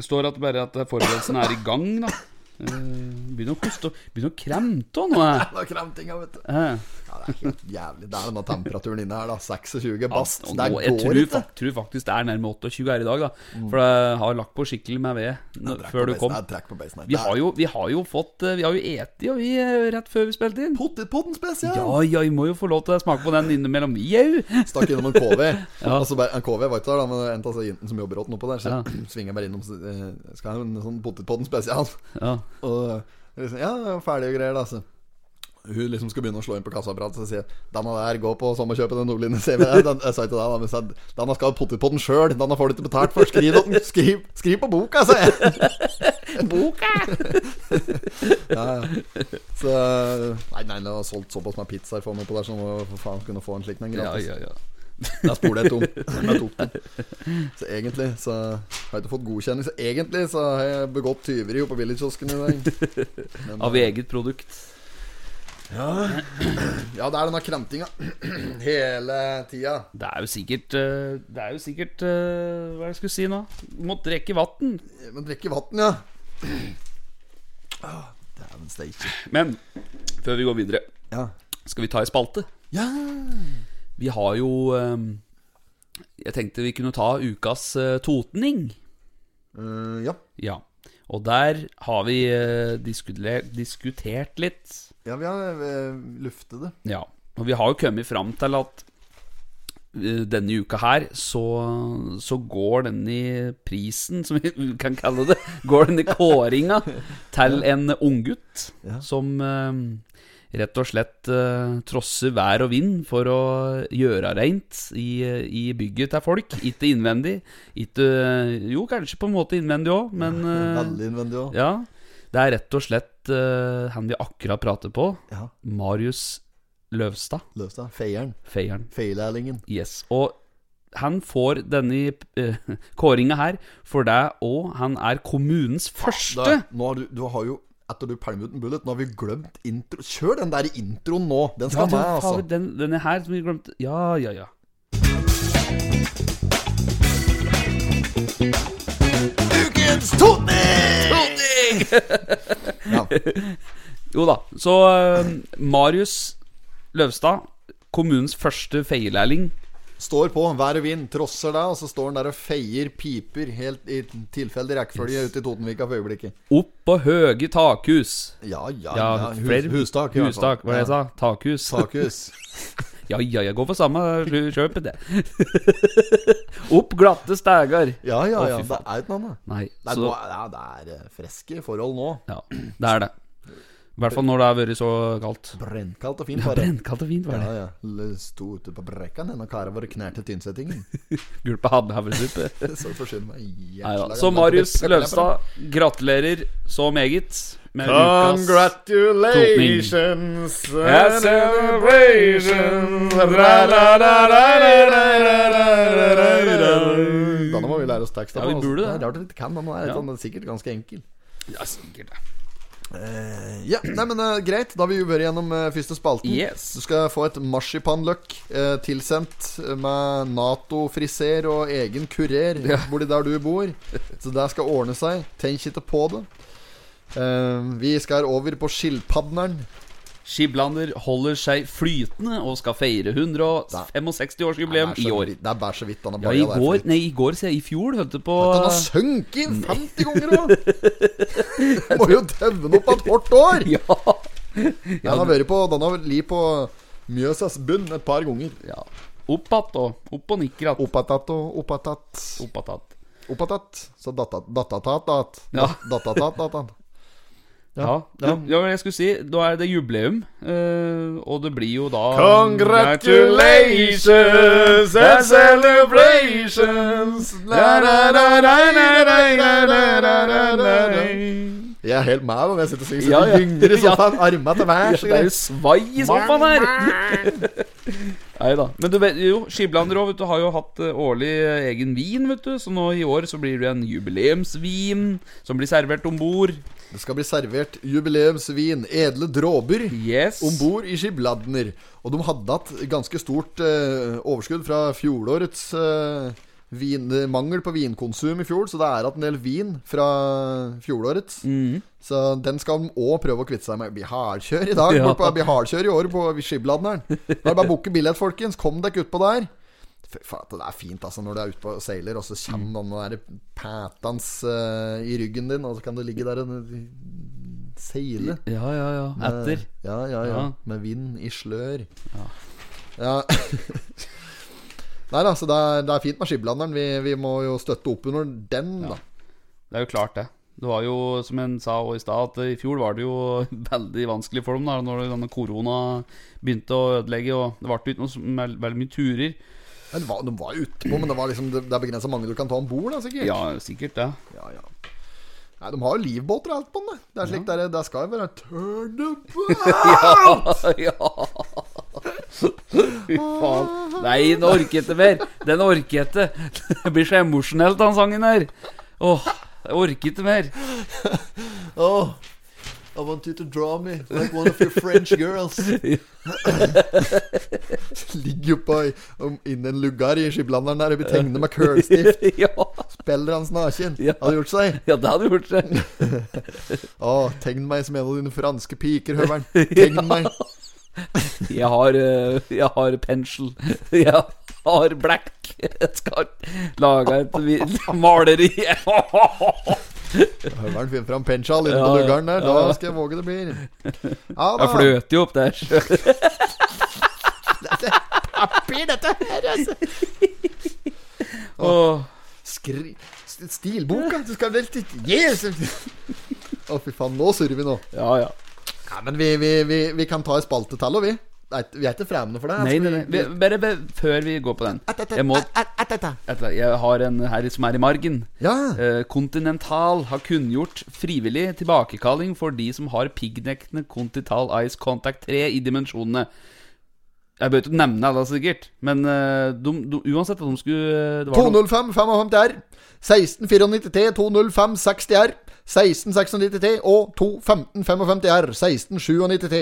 [SPEAKER 1] Det står at bare at forberedelsen er i gang, da. Eh, Begynner å koste Begynner å kremte nå. jeg.
[SPEAKER 3] Det er kramtinga, vet du.
[SPEAKER 1] Eh,
[SPEAKER 3] Ja, det er helt jævlig. Det er denne temperaturen inne her, da. 26 bast.
[SPEAKER 1] og
[SPEAKER 3] Det
[SPEAKER 1] nå- jeg
[SPEAKER 3] går
[SPEAKER 1] tror,
[SPEAKER 3] ikke. Mm.
[SPEAKER 1] fak- tror faktisk det er nærmere 28 her i dag, da. For det har lagt på skikkelig med ved nå-
[SPEAKER 3] Trekk på
[SPEAKER 1] før du
[SPEAKER 3] basen
[SPEAKER 1] kom.
[SPEAKER 3] her, Trekk på basen her.
[SPEAKER 1] Vi har jo, vi har jo fått eh, Vi har jo eti, og vi eh, rett før vi spilte inn.
[SPEAKER 3] Potetpodden spesial!
[SPEAKER 1] Ja, ja, vi må jo få lov til å smake på den innimellom, vi au!
[SPEAKER 3] Stakk innom en KV. Og så bare, en KV var ikke der, da, men en av disse jentene som jobber åt noe på der, så
[SPEAKER 1] Ja.
[SPEAKER 3] svinger jeg bare innom så, eh, Skal ha en sånn potetpodden spesial.
[SPEAKER 1] Ja.
[SPEAKER 3] Og liksom, ja, det var ferdig og greier, da. altså. Så. Hun liksom skal begynne å slå inn på kassaapparatet, så sier jeg, 'Denne der, gå på sommerkjøpet, den nordlige CV'. Den, jeg sa ikke det, da, men jeg sa 'Denne skal ha potetpodden sjøl'. 'Denne får du ikke betalt for'. Skriv, den- skriv, skriv på boka, sa jeg.
[SPEAKER 1] Boka!
[SPEAKER 3] Ja, ja. Så Nei, nei, det var solgt såpass med pizzaer for meg på der, så nå for faen kunne få en slik en
[SPEAKER 1] Ja,
[SPEAKER 3] gratis.
[SPEAKER 1] ja, ja.
[SPEAKER 3] Da spoler jeg tom. Jeg tok den. Så egentlig så har jeg ikke fått godkjenning. Så egentlig så har jeg begått tyveri oppe på Village-kiosken i dag. Men, eh,
[SPEAKER 1] Av eget produkt.
[SPEAKER 3] ja, det er denne kramtinga hele tida.
[SPEAKER 1] Det er jo sikkert eh, Det er jo sikkert eh, Hva er det jeg skulle si nå? Må drikke vann.
[SPEAKER 3] Men drikke vann, ja. Åh, Dæven steike.
[SPEAKER 1] Men før vi går videre,
[SPEAKER 3] Ja.
[SPEAKER 1] skal vi ta ei spalte?
[SPEAKER 3] ja.
[SPEAKER 1] Vi har jo eh, Jeg tenkte vi kunne ta ukas eh, totning.
[SPEAKER 3] Eh, ja.
[SPEAKER 1] Ja. Og der har vi eh, diskutle- diskutert litt.
[SPEAKER 3] Ja, vi har eh, luftet det.
[SPEAKER 1] Ja. Og vi har jo kommet fram til at eh, denne uka her så, så går denne prisen, som vi kan kalle det, går denne kåringa til en unggutt
[SPEAKER 3] Ja.
[SPEAKER 1] som eh, rett og slett eh, trosser vær og vind for å gjøre reint i, i bygget til folk. Ikke innvendig. Ikke eh, Jo, kanskje på en måte innvendig òg, men eh,
[SPEAKER 3] Veldig innvendig òg.
[SPEAKER 1] ja. Det er rett og slett eh, han vi akkurat prater på,
[SPEAKER 3] Ja.
[SPEAKER 1] Marius Løvstad.
[SPEAKER 3] Løvstad. Feieren.
[SPEAKER 1] Feieren.
[SPEAKER 3] Feilærlingen.
[SPEAKER 1] Yes. Og han får denne eh, kåringa her for deg òg. Han er kommunens første.
[SPEAKER 3] Da, nå har du, du har jo etter du pælmer ut en bullet, nå har vi glemt intro. Kjør den der introen nå! Den
[SPEAKER 1] Ja,
[SPEAKER 3] skal med,
[SPEAKER 1] den,
[SPEAKER 3] altså.
[SPEAKER 1] faen, den, denne her som vi glemte Ja, ja, ja.
[SPEAKER 3] Ukens Tony! Ja.
[SPEAKER 1] Jo da. Så eh, Marius Løvstad, kommunens første feilærling.
[SPEAKER 3] Står på, vær og vind, trosser deg, og så står han der og feier piper helt i tilfeldig rekkefølge ute i Totenvika for øyeblikket.
[SPEAKER 1] Opp på høge takhus.
[SPEAKER 3] Ja, ja, ja.
[SPEAKER 1] Ja,
[SPEAKER 3] Hus,
[SPEAKER 1] flere-
[SPEAKER 3] hustak, i hvert fall.
[SPEAKER 1] Hustak, hva er det jeg sa? Takhus.
[SPEAKER 3] Ja, Takhus.
[SPEAKER 1] Ja, ja, jeg går for samme slu- kjøpet, det. Opp glatte stegar.
[SPEAKER 3] Ja, ja,
[SPEAKER 1] Å,
[SPEAKER 3] ja.
[SPEAKER 1] fy
[SPEAKER 3] Det
[SPEAKER 1] faen.
[SPEAKER 3] er ikke noe annet.
[SPEAKER 1] Nei,
[SPEAKER 3] Det er,
[SPEAKER 1] så
[SPEAKER 3] nå- ja, det er eh, freske forhold nå.
[SPEAKER 1] Ja, det er det. I hvert fall når det har vært så kaldt.
[SPEAKER 3] Brennkaldt og fint.
[SPEAKER 1] Ja,
[SPEAKER 3] bare.
[SPEAKER 1] Brennkaldt og fint var det.
[SPEAKER 3] Ja, ja. L- Sto ute på brekkan, denne karen vår knærte tynnsettingen.
[SPEAKER 1] Gult på havresuppe.
[SPEAKER 3] Så forsyn meg
[SPEAKER 1] Nei da.
[SPEAKER 3] jævla
[SPEAKER 1] Så
[SPEAKER 3] gammel.
[SPEAKER 1] Marius Løvstad, gratulerer så meget med ukas
[SPEAKER 8] Congratulations and celebrations Ra-ra-ra-ra-ra-ra-ra-ra-ra-ra-ra.
[SPEAKER 3] Denne må vi lære oss tekst av.
[SPEAKER 1] Ja, vi
[SPEAKER 3] altså.
[SPEAKER 1] burde det.
[SPEAKER 3] er rart vi ikke kan den. Den er,
[SPEAKER 1] Ja.
[SPEAKER 3] den er sikkert ganske enkel.
[SPEAKER 1] Ja, sikkert det.
[SPEAKER 3] Ja, nei, men eh, Greit, da har vi jo vært gjennom eh, første spalten.
[SPEAKER 1] Yes.
[SPEAKER 3] Du skal få et marsipanløk eh, tilsendt med Nato-friser og egen kurer borti der du bor. Så det skal ordne seg. Tenk ikke på det. Eh, vi skal over på skilpadderen.
[SPEAKER 1] Skiblander holder seg flytende og skal feire 165-årsjubileum i år.
[SPEAKER 3] Det er bare så vidt han har
[SPEAKER 1] Ja, i
[SPEAKER 3] bøya der.
[SPEAKER 1] går, nei, i går, sier jeg. I fjor, hørte du på
[SPEAKER 3] Den har sunket 50 ganger òg! Må jo døvne opp et hardt år!
[SPEAKER 1] Ja.
[SPEAKER 3] Den har vært på Den har li på Mjøsas bunn et par ganger.
[SPEAKER 1] ja. Opp att og opp og nikker att.
[SPEAKER 3] Oppatat og oppatat.
[SPEAKER 1] Opp att att.
[SPEAKER 3] Oppatat. Så datat datatat dat.
[SPEAKER 1] Ja.
[SPEAKER 3] Datatat datan.
[SPEAKER 1] Ja, ja. ja, jeg skulle si Da er det jubileum, eh, og det blir jo da
[SPEAKER 8] Congratulations and celebrations. La-ra-ra-ra-ra-ra-ra-ra-ra-ra.
[SPEAKER 3] Jeg er helt mad når jeg sitter og synger.
[SPEAKER 1] Ja,
[SPEAKER 3] Ja,
[SPEAKER 1] ja.
[SPEAKER 3] Gynger i sofaen, arma til værs.
[SPEAKER 1] Det er jo svai i sofaen her! Nei da. Men du vet jo, Skiblander òg, vet du, har jo hatt eh, årlig eh, egen vin, vet du. Så nå i år så blir det en jubileumsvin som blir servert om bord.
[SPEAKER 3] Det skal bli servert jubileumsvin, edle dråper,
[SPEAKER 1] Yes.
[SPEAKER 3] om bord i Skibladner. Og de hadde hatt ganske stort eh, overskudd fra fjorårets eh, vin, eh, mangel på vinkonsum i fjor, så det er igjen en del vin fra fjorårets.
[SPEAKER 1] Mhm.
[SPEAKER 3] Så den skal de òg prøve å kvitte seg med. Det Blir hardkjør i dag.
[SPEAKER 1] Ja.
[SPEAKER 3] Ja. Blir hardkjør i år på Skibladneren. Da er det bare å booke billett, folkens. Kom dere utpå der. Fy faen, det er fint altså når du er ute på og seiler, og så kommer den der pætans eh, i ryggen din, og så kan du ligge der og eh, seile. Eh,
[SPEAKER 1] Ja, ja, ja. Etter.
[SPEAKER 3] Ja, ja, ja.
[SPEAKER 1] Ja.
[SPEAKER 3] Med vind i slør. Ja. Nei da, så det er, det er fint med skiblanderen. Vi, vi må jo støtte opp under den, da.
[SPEAKER 1] Det er jo klart, det. Det var jo, som en sa også i stad, at eh, i fjor var det jo veldig vanskelig for dem da når denne korona begynte å ødelegge, og det ble jo ikke noe som- veldig mye turer.
[SPEAKER 3] Men det var, de var utpå, men det, var liksom, det, det er begrensa mange du kan ta om bord, da, sikkert.
[SPEAKER 1] Ja, sikkert det.
[SPEAKER 3] Ja, ja. Nei, de har jo livbåter og alt på den. da. Det er slik der, der skal jo være turn up!
[SPEAKER 1] ja. Fy faen. Nei, den orker jeg ikke mer. Den orker jeg ikke. Det blir så emosjonelt, den sangen her. Åh, jeg orker ikke mer.
[SPEAKER 3] oh, I want you to draw me like one of your French girls. Ligger jo på innen en lugar i skiblanderen der og blir tegnet med kølstift.
[SPEAKER 1] Ja,
[SPEAKER 3] Spiller hans naken.
[SPEAKER 1] Ja.
[SPEAKER 3] Hadde gjort seg.
[SPEAKER 1] ja det hadde gjort det.
[SPEAKER 3] Å, tegn meg som en av dine franske piker, høveren. Tegn meg.
[SPEAKER 1] Jeg har, eh, jeg har pensel. Jeg har black. Jeg skal lage et vi- maleri.
[SPEAKER 3] Høveren finner fram pensjal inne
[SPEAKER 1] Ja,
[SPEAKER 3] på
[SPEAKER 1] ja.
[SPEAKER 3] lugaren der.
[SPEAKER 1] Ja, ja.
[SPEAKER 3] Da skal jeg våge det blir. Ja
[SPEAKER 1] Jeg
[SPEAKER 3] da.
[SPEAKER 1] fløter jo opp der.
[SPEAKER 3] Blir dette her, altså.
[SPEAKER 1] Åh,
[SPEAKER 3] Skri... st- Stilboka. Du skal vel til Jesus. Å, fy faen. Nå surrer vi nå.
[SPEAKER 1] ja, ja.
[SPEAKER 3] Ja, men vi, vi, vi, vi kan ta en spalte til, og vi. Nei, Vi er ikke fremmede for det.
[SPEAKER 1] Nei,
[SPEAKER 3] altså,
[SPEAKER 1] nei, nei.
[SPEAKER 3] vi-
[SPEAKER 1] Vi- Bare, bare før vi går på den. Jeg, må, jeg har en her som er i margen.
[SPEAKER 3] Ja.
[SPEAKER 1] Eh, Continental har kunngjort frivillig tilbakekalling for de som har piggdekkende Continental Ice Contact 3 i dimensjonene. Jeg bør ikke nevne alle, sikkert, men eh, de, de, uansett at de skulle eh, det var noe-
[SPEAKER 3] 205 55 R. 1694 205 60 R. 1696 og 21555 R. 1697.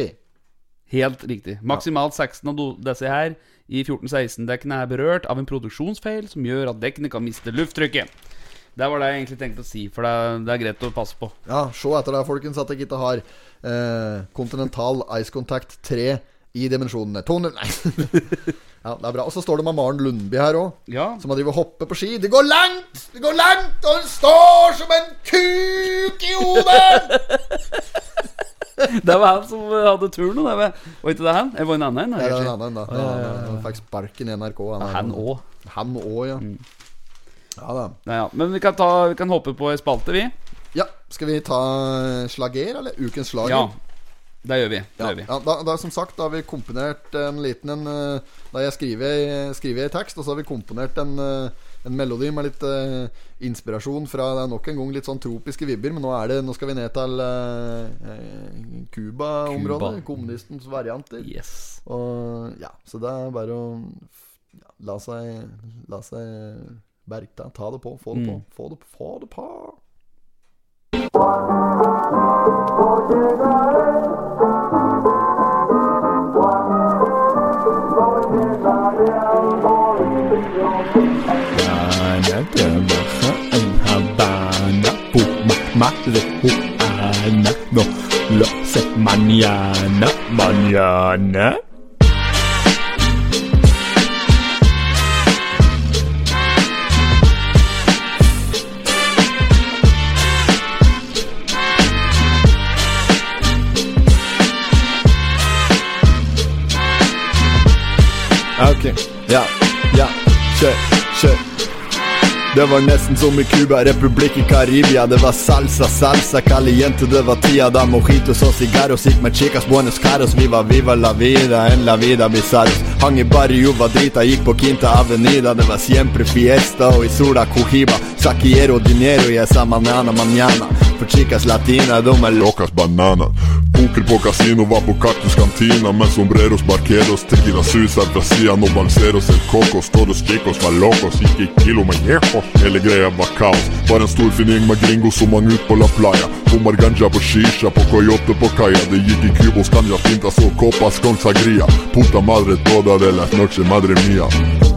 [SPEAKER 1] Helt riktig. Maksimalt 16 av do- disse her i 1416-dekkene er berørt av en produksjonsfeil som gjør at dekkene kan miste lufttrykket. Det var det jeg egentlig tenkte å si, for det, er- det er greit å passe på.
[SPEAKER 3] Ja, se etter det, folkens, at jeg ikke har eh, Continental Ice Contact 3 i dimensjonene. 200 Nei. ja, det er bra. Og så står det med Maren Lundby her òg,
[SPEAKER 1] Ja,
[SPEAKER 3] som har drevet og hoppet på ski. Det går langt! Det går langt! Og hun står som en kuk i hodet!
[SPEAKER 1] Det var han som eh, hadde turen. og Det var, var ikke det han? Jeg var en annen.
[SPEAKER 3] Det er
[SPEAKER 1] jeg,
[SPEAKER 3] en annen, da. Ja, ja, ja. Han fikk sparken i NRK.
[SPEAKER 1] kanskje. Han òg.
[SPEAKER 3] Han òg, ja. Ja da.
[SPEAKER 1] Nei, ja. Men vi kan, ta, vi kan hoppe på ei spalte, vi.
[SPEAKER 3] Ja, skal vi ta slager, eller? Ukens slager?
[SPEAKER 1] Ja. Det gjør vi. Det
[SPEAKER 3] Ja,
[SPEAKER 1] gjør vi.
[SPEAKER 3] ja da, da, som sagt, da har vi komponert en liten en eh, Da jeg skriver, skriver jeg tekst, og så har vi komponert en, eh, en melodi med litt eh, inspirasjon fra Det er nok en gang litt sånn tropiske vibber, men nå, er det, nå skal vi ned til eh, eh, Cuba-området.
[SPEAKER 1] Cuba.
[SPEAKER 3] Kommunistens varianter.
[SPEAKER 1] Yes.
[SPEAKER 3] Og ja, så det er bare å ja, la seg La seg bergta. Ta det på. Få
[SPEAKER 1] Mm.
[SPEAKER 3] det på. Få det, få det på.
[SPEAKER 2] Mañana, mañana.
[SPEAKER 3] Ok. Ja. Ja. Kjør. Kjør. Det var nesten som i Cuba, republikk i Karibia. Det var salsa, salsa, caliente, det var tida da mojitos og cigarros gikk med chicas buenos caros. Vi var viva la vida, en la vida bizarros. Hang i barrio, var drita, gikk på Quinta Avenida. Det var siempre fiesta og i sola cojiba. Sa quiero dinero y esa manana mañana För chicas latina, de är loca
[SPEAKER 9] Pacas banana Poker på kasino, var på Kaktus kantina Med sombreros, barqueros, tequila susar Brasian och balseros, el cocos Todos chicos var locos, gick i kilo med jejos Hela grejen var kaos Var en stor fin gäng med gringos som man ut på la playa Bommar ganja på shisha, på coyote på kaja Det gick i kubos, ganja, fintas och copas con sangria Puta madre toda de las noche, madre mia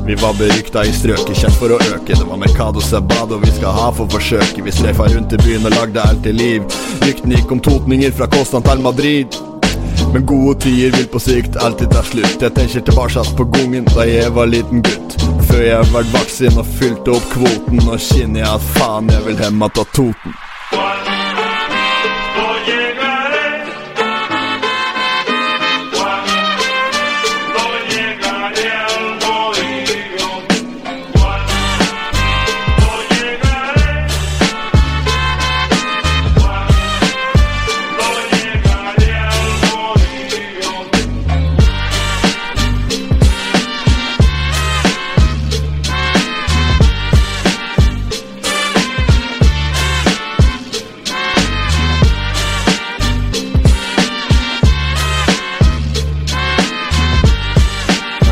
[SPEAKER 3] Vi var berykta i strøket, kjent for å øke. Det var Mercado Sabado vi skal ha for forsøket. Vi streifa rundt i byen og lagde alt til liv. Ryktene gikk om totninger fra Kostan til Madrid. Men gode tider vil på sikt alltid ta slutt. Jeg tenker tilbake på gangen da jeg var liten gutt. Før jeg vart vaksin og fylte opp kvoten. Nå kjenner jeg at faen, jeg vil hjem att ta Toten.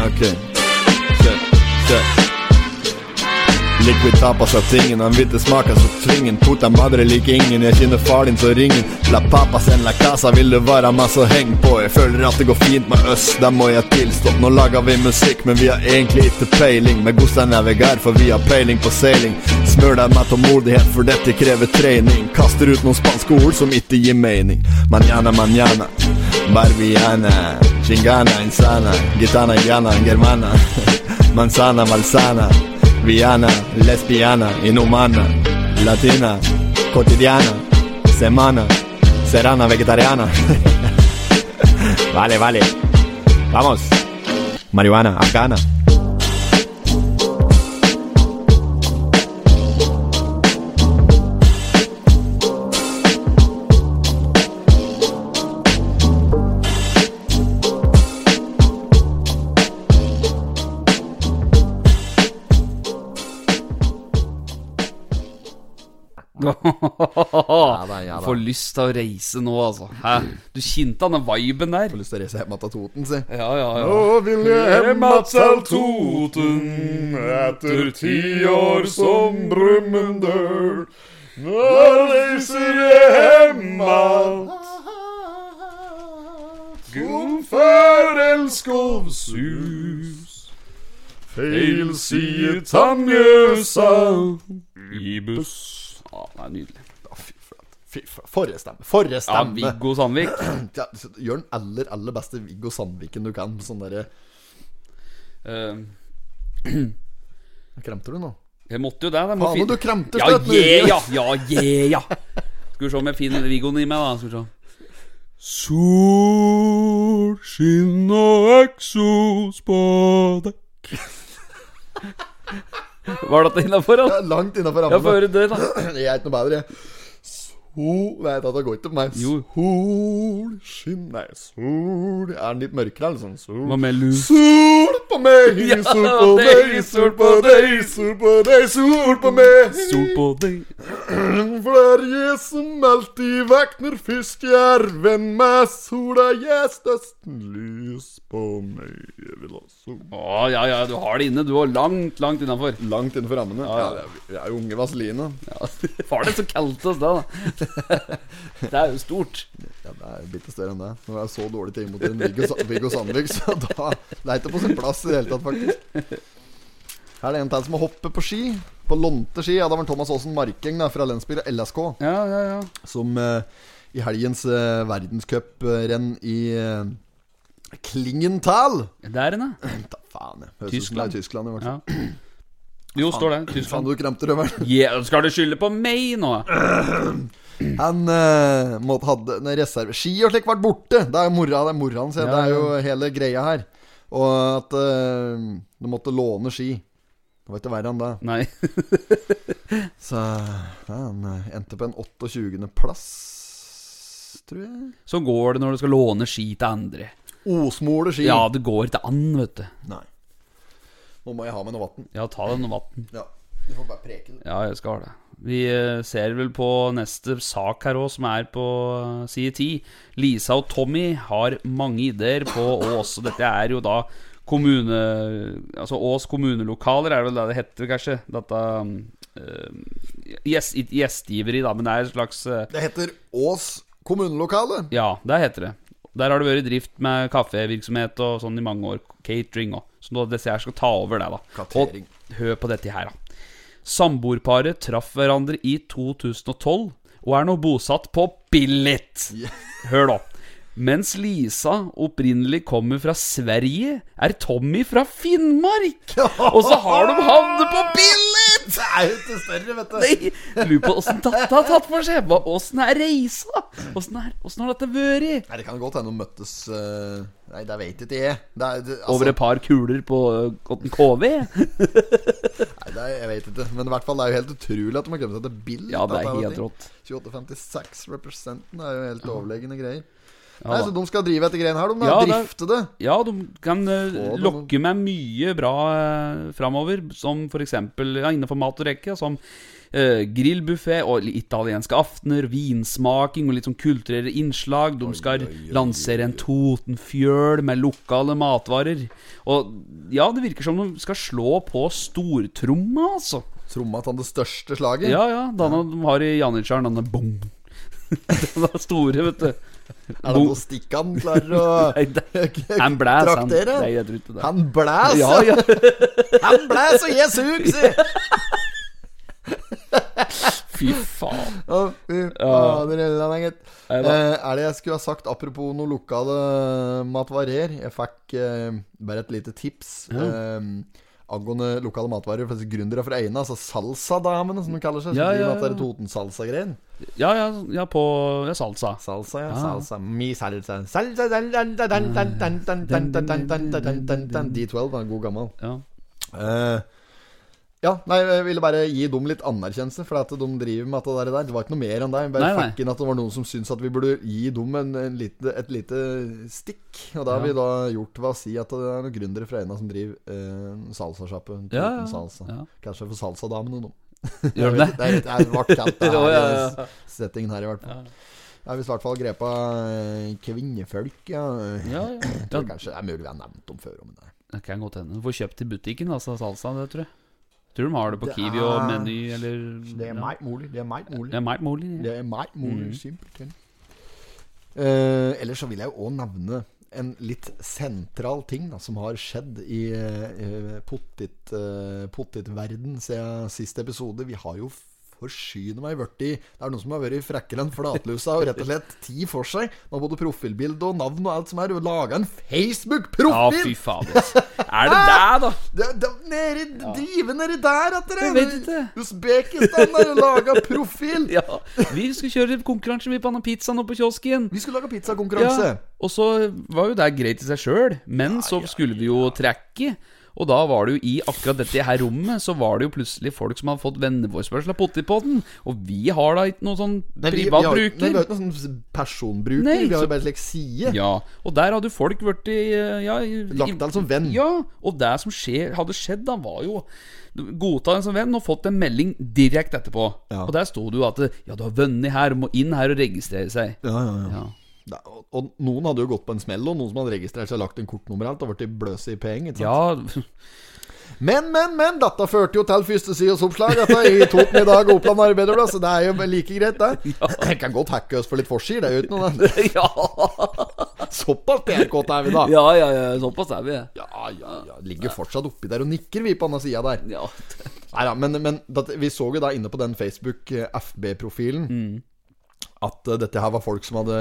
[SPEAKER 3] Okej. Kör, kör. Liquid tapas av tingen, han vill inte smaka så tvingen Puta madre lik ingen, jag känner far din så ringen La pappa sen la casa, vill du vara massa häng på Jag följer att det går fint med öss, där må jag tillstå Nu lagar vi musik, men vi har egentligen inte pejling Med gossa navigar, för vi har pejling på sailing Smörda med tålmodighet, för detta kräver träning Kastar ut någon spansk ord som inte ger mening Manana, manana, barbiana Chingana, insana, gitana, jana, germana Manzana, malsana Viana, lesbiana, inhumana, latina, cotidiana, semana, serana, vegetariana. vale, vale. Vamos. Marihuana, afgana.
[SPEAKER 10] Ja da, ja da. Mm.
[SPEAKER 1] Får lyst til å reise nå, altså. Hæ? Du kjente han den viben der?
[SPEAKER 10] Lyst til å reise hjem att ta Toten, si.
[SPEAKER 1] Ja, ja, ja.
[SPEAKER 10] Nå vil jeg hjem
[SPEAKER 11] Hemma til Toten Mm. etter ti år som brummendøl. Nå reiser jeg hjem att Gun Førelskovshus. Feil side Tanjøsa i buss.
[SPEAKER 1] Ja, det er nydelig.
[SPEAKER 10] Fy flate. Fy flate. Forrige stemme. Forrige
[SPEAKER 1] Ja,
[SPEAKER 10] stemme.
[SPEAKER 1] Viggo Sandvik.
[SPEAKER 10] Ja, så Gjør den aller, aller beste Viggo Sandviken du kan. Sånn derre
[SPEAKER 1] Eh,
[SPEAKER 10] Kremter du nå?
[SPEAKER 1] jeg måtte jo det. det
[SPEAKER 10] Faen, du kremter
[SPEAKER 1] ja,
[SPEAKER 10] støtt nå.
[SPEAKER 1] yeah, ja, ja, yeah, ja. Skal vi se om jeg finner Viggoen i meg, da. Skal vi se.
[SPEAKER 11] Sol, skinn og eksos på deg.
[SPEAKER 1] Var det innafor?
[SPEAKER 10] Ja, Langt innafor
[SPEAKER 1] Ja, få
[SPEAKER 10] rammen.
[SPEAKER 1] høre det, da.
[SPEAKER 10] Jeg er ikke noe bedre, jeg. Sol Nei, det går ikke på meg.
[SPEAKER 1] Jo.
[SPEAKER 10] Sol skinn Nei, sol Er den litt mørkere, eller sånn? Sol
[SPEAKER 1] Hva med lu?
[SPEAKER 10] Sol på meg,
[SPEAKER 1] Ja,
[SPEAKER 10] sol på deg, sol på deg, sol på deg, sol på meg.
[SPEAKER 1] Sol på deg
[SPEAKER 10] For det er jeg som alltid våkner først, jerven med sola, jeg er størst lys på meg. Jeg vil ha sol.
[SPEAKER 1] Å, ja, ja, du har det inne. Du var langt, langt innafor.
[SPEAKER 10] Langt innenfor rammene. Ja, det er- det er jo unge Vazelina.
[SPEAKER 1] Ja, var det som kalte oss det, da? Det er jo stort.
[SPEAKER 10] Ja, det er bitte større enn det. Når det er så dårlig ting mot en Viggo, Sa- Viggo Sandvik, så da Det er ikke på sin plass i det hele tatt, faktisk. Her er det en til som må hoppe på ski. På lånte ski. Ja, det var Thomas Aasen Markeng da, fra Lensbygda LSK,
[SPEAKER 1] Ja, ja, ja.
[SPEAKER 10] som eh, i helgens uh, verdenscuprenn i eh, Klingenthal
[SPEAKER 1] Der inne.
[SPEAKER 10] Ta faen, jeg. Høres ut som det er Tyskland. i hvert fall.
[SPEAKER 1] Ja. Jo, står det.
[SPEAKER 10] Faen,
[SPEAKER 1] Tyskland.
[SPEAKER 10] du kremte røveren.
[SPEAKER 1] Ja, skal du skylde på meg nå?
[SPEAKER 10] Han eh, måtte hadde en reserve Ski og slik ble borte. Det er jo mora, det er mora hans. Ja,
[SPEAKER 1] Ja,
[SPEAKER 10] det er
[SPEAKER 1] ja.
[SPEAKER 10] jo hele greia her. Og at eh, du måtte låne ski. Det var ikke verre enn det.
[SPEAKER 1] Nei.
[SPEAKER 10] Så ja, han eh, endte på en 28.-plass, tror jeg.
[SPEAKER 1] Så går det når du skal låne ski til andre.
[SPEAKER 10] Osmole ski.
[SPEAKER 1] Ja, det går til and, vet du.
[SPEAKER 10] Nei. Nå må jeg ha med noe vann.
[SPEAKER 1] Ja, ta deg noe vann.
[SPEAKER 10] Ja. Du får bare preke, du.
[SPEAKER 1] Ja, jeg skal ha det. Vi eh, ser vel på neste sak her òg, som er på eh, side 10. Lisa og Tommy har mange ideer på Ås. Og dette er jo da kommune... Altså Ås kommunelokaler, er det vel det det heter, kanskje? Dette eh, gjest- ikke Gjestgiveri, da, men det er et slags eh,
[SPEAKER 10] Det heter Ås kommunelokale.
[SPEAKER 1] Ja, der heter det. Der har det vært i drift med kaffevirksomhet og sånn i mange år. Catering òg. Så nå dessert skal ta over det, da.
[SPEAKER 10] Katering.
[SPEAKER 1] Og hør på dette her, da. Samboerparet traff hverandre i 2012 og er nå bosatt på Billit. Hør, da. Mens Lisa opprinnelig kommer fra Sverige, er Tommy fra Finnmark! Og så har de havnet på Billit!
[SPEAKER 10] Det er jo ikke større, vet du.
[SPEAKER 1] Nei, lurer på åssen dette har tatt for seg. Hva- Åssen er reisa? Åssen er- åssen har dette vært?
[SPEAKER 10] Nei, Det kan godt hende de møttes eh, Nei, det veit ikke jeg. Det er, det, altså,
[SPEAKER 1] Over et par kuler på ø, Cotton KV?
[SPEAKER 10] nei, det er, jeg vet ikke. Men i hvert fall det er jo helt utrolig at de har kommet seg til Bill.
[SPEAKER 1] Ja, det er
[SPEAKER 10] dette
[SPEAKER 1] helt
[SPEAKER 10] ting.
[SPEAKER 1] rått.
[SPEAKER 10] 2856 representen er jo helt overlegne greier.
[SPEAKER 1] Ja,
[SPEAKER 10] nei,
[SPEAKER 1] da.
[SPEAKER 10] Så de skal drive etter greiene her, de.
[SPEAKER 1] Ja,
[SPEAKER 10] da,
[SPEAKER 1] det er-
[SPEAKER 10] drifte det.
[SPEAKER 1] Ja, de kan ø,
[SPEAKER 10] Få det,
[SPEAKER 1] lokke med mye bra uh, framover, som f.eks. Ja, innenfor mat og rekke. Som uh, grillbuffé og li- italienske aftener, vinsmaking og litt sånn kulturelle innslag. De skal lansere en Totenfjøl med lokale matvarer. Og ja, det virker som de skal slå på stortromma, altså.
[SPEAKER 10] Tromma til det største slaget.
[SPEAKER 1] Ja, ja. Denne de har i Janitsjaren, denne bong. Den er store, vet du.
[SPEAKER 10] Er det noe stikk han klarer å
[SPEAKER 1] Nei, det- Han blæs, han.
[SPEAKER 10] Traktere?
[SPEAKER 1] Nei, jeg tror ikke det.
[SPEAKER 10] Han blæs!
[SPEAKER 1] ja, ja.
[SPEAKER 10] Han blæs, og jeg sug, si!
[SPEAKER 1] Fy faen.
[SPEAKER 10] Å, fy fader, Helland, gitt.
[SPEAKER 1] Nei da.
[SPEAKER 10] Eh, er det jeg skulle ha sagt apropos noe lokale matvarer? Jeg fikk eh, bare et lite tips eh, angående lokale matvarer. For Gründere fra Eina, altså Salsadamene, som de kaller seg. Som
[SPEAKER 1] Ja,
[SPEAKER 10] driver
[SPEAKER 1] ja,
[SPEAKER 10] med
[SPEAKER 1] ja.
[SPEAKER 10] at det er Toten-salsa-greien.
[SPEAKER 1] Ja, ja, ja, på ja, salsa.
[SPEAKER 10] Salsa, ja.
[SPEAKER 1] Ah.
[SPEAKER 10] Salsa. Mi salsa. Salsa, dun, dun, dun, dun, dun, dun, dun, dun, dun, dun, dun, dun, dun,
[SPEAKER 1] Mm.
[SPEAKER 10] dun. D12 var en god gammel.
[SPEAKER 1] Ja.
[SPEAKER 10] Eh, ja, nei, jeg ville bare gi dem litt anerkjennelse, for at de driver med at det der. Det var ikke noe mer enn det. Jeg Bare
[SPEAKER 1] Nei, nei.
[SPEAKER 10] fikk inn at det var noen som syntes at vi burde gi dem en, en lite, et lite stikk. Og det har vi da gjort ved å si at det er noen gründere fra Eina som driver eh, salsasjappe.
[SPEAKER 1] Ja, ja,
[SPEAKER 10] Toten Salsa.
[SPEAKER 1] ja.
[SPEAKER 10] Kanskje for salsadamene, nå.
[SPEAKER 1] Gjør de
[SPEAKER 10] det?
[SPEAKER 1] det?
[SPEAKER 10] Det er det er vart kalt, det
[SPEAKER 1] Å,
[SPEAKER 10] her,
[SPEAKER 1] ja, ja, ja.
[SPEAKER 10] i settingen her, i hvert fall. Det er visst i hvert fall grepa eh, kvinnefolk, ja.
[SPEAKER 1] Ja, ja.
[SPEAKER 10] Jeg tror kanskje det er mulig vi har nevnt dem før. Men det.
[SPEAKER 1] Det kan godt hende. Du får kjøpt i butikken, altså, salsa, det tror jeg. Tror de har det på
[SPEAKER 10] Det
[SPEAKER 1] Kiwi og
[SPEAKER 10] er-
[SPEAKER 1] Meny, eller
[SPEAKER 10] det er
[SPEAKER 1] ja.
[SPEAKER 10] meg mulig. Det er meg mulig.
[SPEAKER 1] Det er meg, mulig.
[SPEAKER 10] Det er meg, mor,
[SPEAKER 1] Mm.
[SPEAKER 10] simpelthen. Eh, ellers så vil jeg jo òg nevne en litt sentral ting da, som har skjedd i uh, potet, eh, potetverden siden siste episode. Vi har jo forsyne meg vært i Det er noen som har vært frekkere enn flatlusa og rett og slett ti for seg. Med både profilbilde og navn og alt som er. Laga en
[SPEAKER 1] Ja,
[SPEAKER 10] Facebook-profil!
[SPEAKER 1] fy fader. altså. Er det deg, da?
[SPEAKER 10] Det, det, nedi, Drive nedi der at dere
[SPEAKER 1] Jeg vet ikke.
[SPEAKER 10] Usbekistan har laga profil!
[SPEAKER 1] Ja. Vi skulle kjøre konkurranse vi på denne pizzaen oppe på kiosken.
[SPEAKER 10] Vi skulle lage pizzakonkurranse.
[SPEAKER 1] Og så var jo det greit i seg sjøl, men så skulle vi jo trekke. Og da var det jo i akkurat dette her rommet Så var det jo plutselig folk som hadde fått venneforespørsel av Pottipodden. Og vi har da ikke noen sånn
[SPEAKER 10] Nei, vi-
[SPEAKER 1] privat
[SPEAKER 10] vi har- Nei, vi har
[SPEAKER 1] bruker.
[SPEAKER 10] ikke noen sånn personbruker.
[SPEAKER 1] Nei,
[SPEAKER 10] vi har jo
[SPEAKER 1] så-
[SPEAKER 10] bare en slags side.
[SPEAKER 1] Ja, Og der hadde jo folk blitt ja, i-
[SPEAKER 10] Lagt deg som venn.
[SPEAKER 1] Ja, og det som skje, hadde skjedd, da var jo godta den som venn og fått en melding direkte etterpå.
[SPEAKER 10] Ja.
[SPEAKER 1] Og der sto det jo at Ja, du har vunnet her, må inn her og registrere seg.
[SPEAKER 10] Ja, ja, ja.
[SPEAKER 1] Ja.
[SPEAKER 10] Da, og, og noen hadde jo gått på en smell, og noen som hadde registrert seg og lagt en kortnummer og alt, og blitt bløse i penger. ikke sant?
[SPEAKER 1] ja
[SPEAKER 10] Men, men, men! Dette førte jo til første sidesoppslag dette i Toten i dag, Oppland Arbeiderblad, så det er jo like greit, det. Jeg kan godt hacke oss for litt forsider, det er jo ikke noe det. Såpass PR-kåte er vi, da.
[SPEAKER 1] ja, ja, ja, såpass er vi.
[SPEAKER 10] Ja, ja, ja. Ligger fortsatt oppi der og nikker, vi, på andre sida der.
[SPEAKER 1] Ja.
[SPEAKER 10] Nei da, men, men dette- vi så jo da inne på den Facebook-FB-profilen
[SPEAKER 1] Mm.
[SPEAKER 10] at eh, dette her var folk som hadde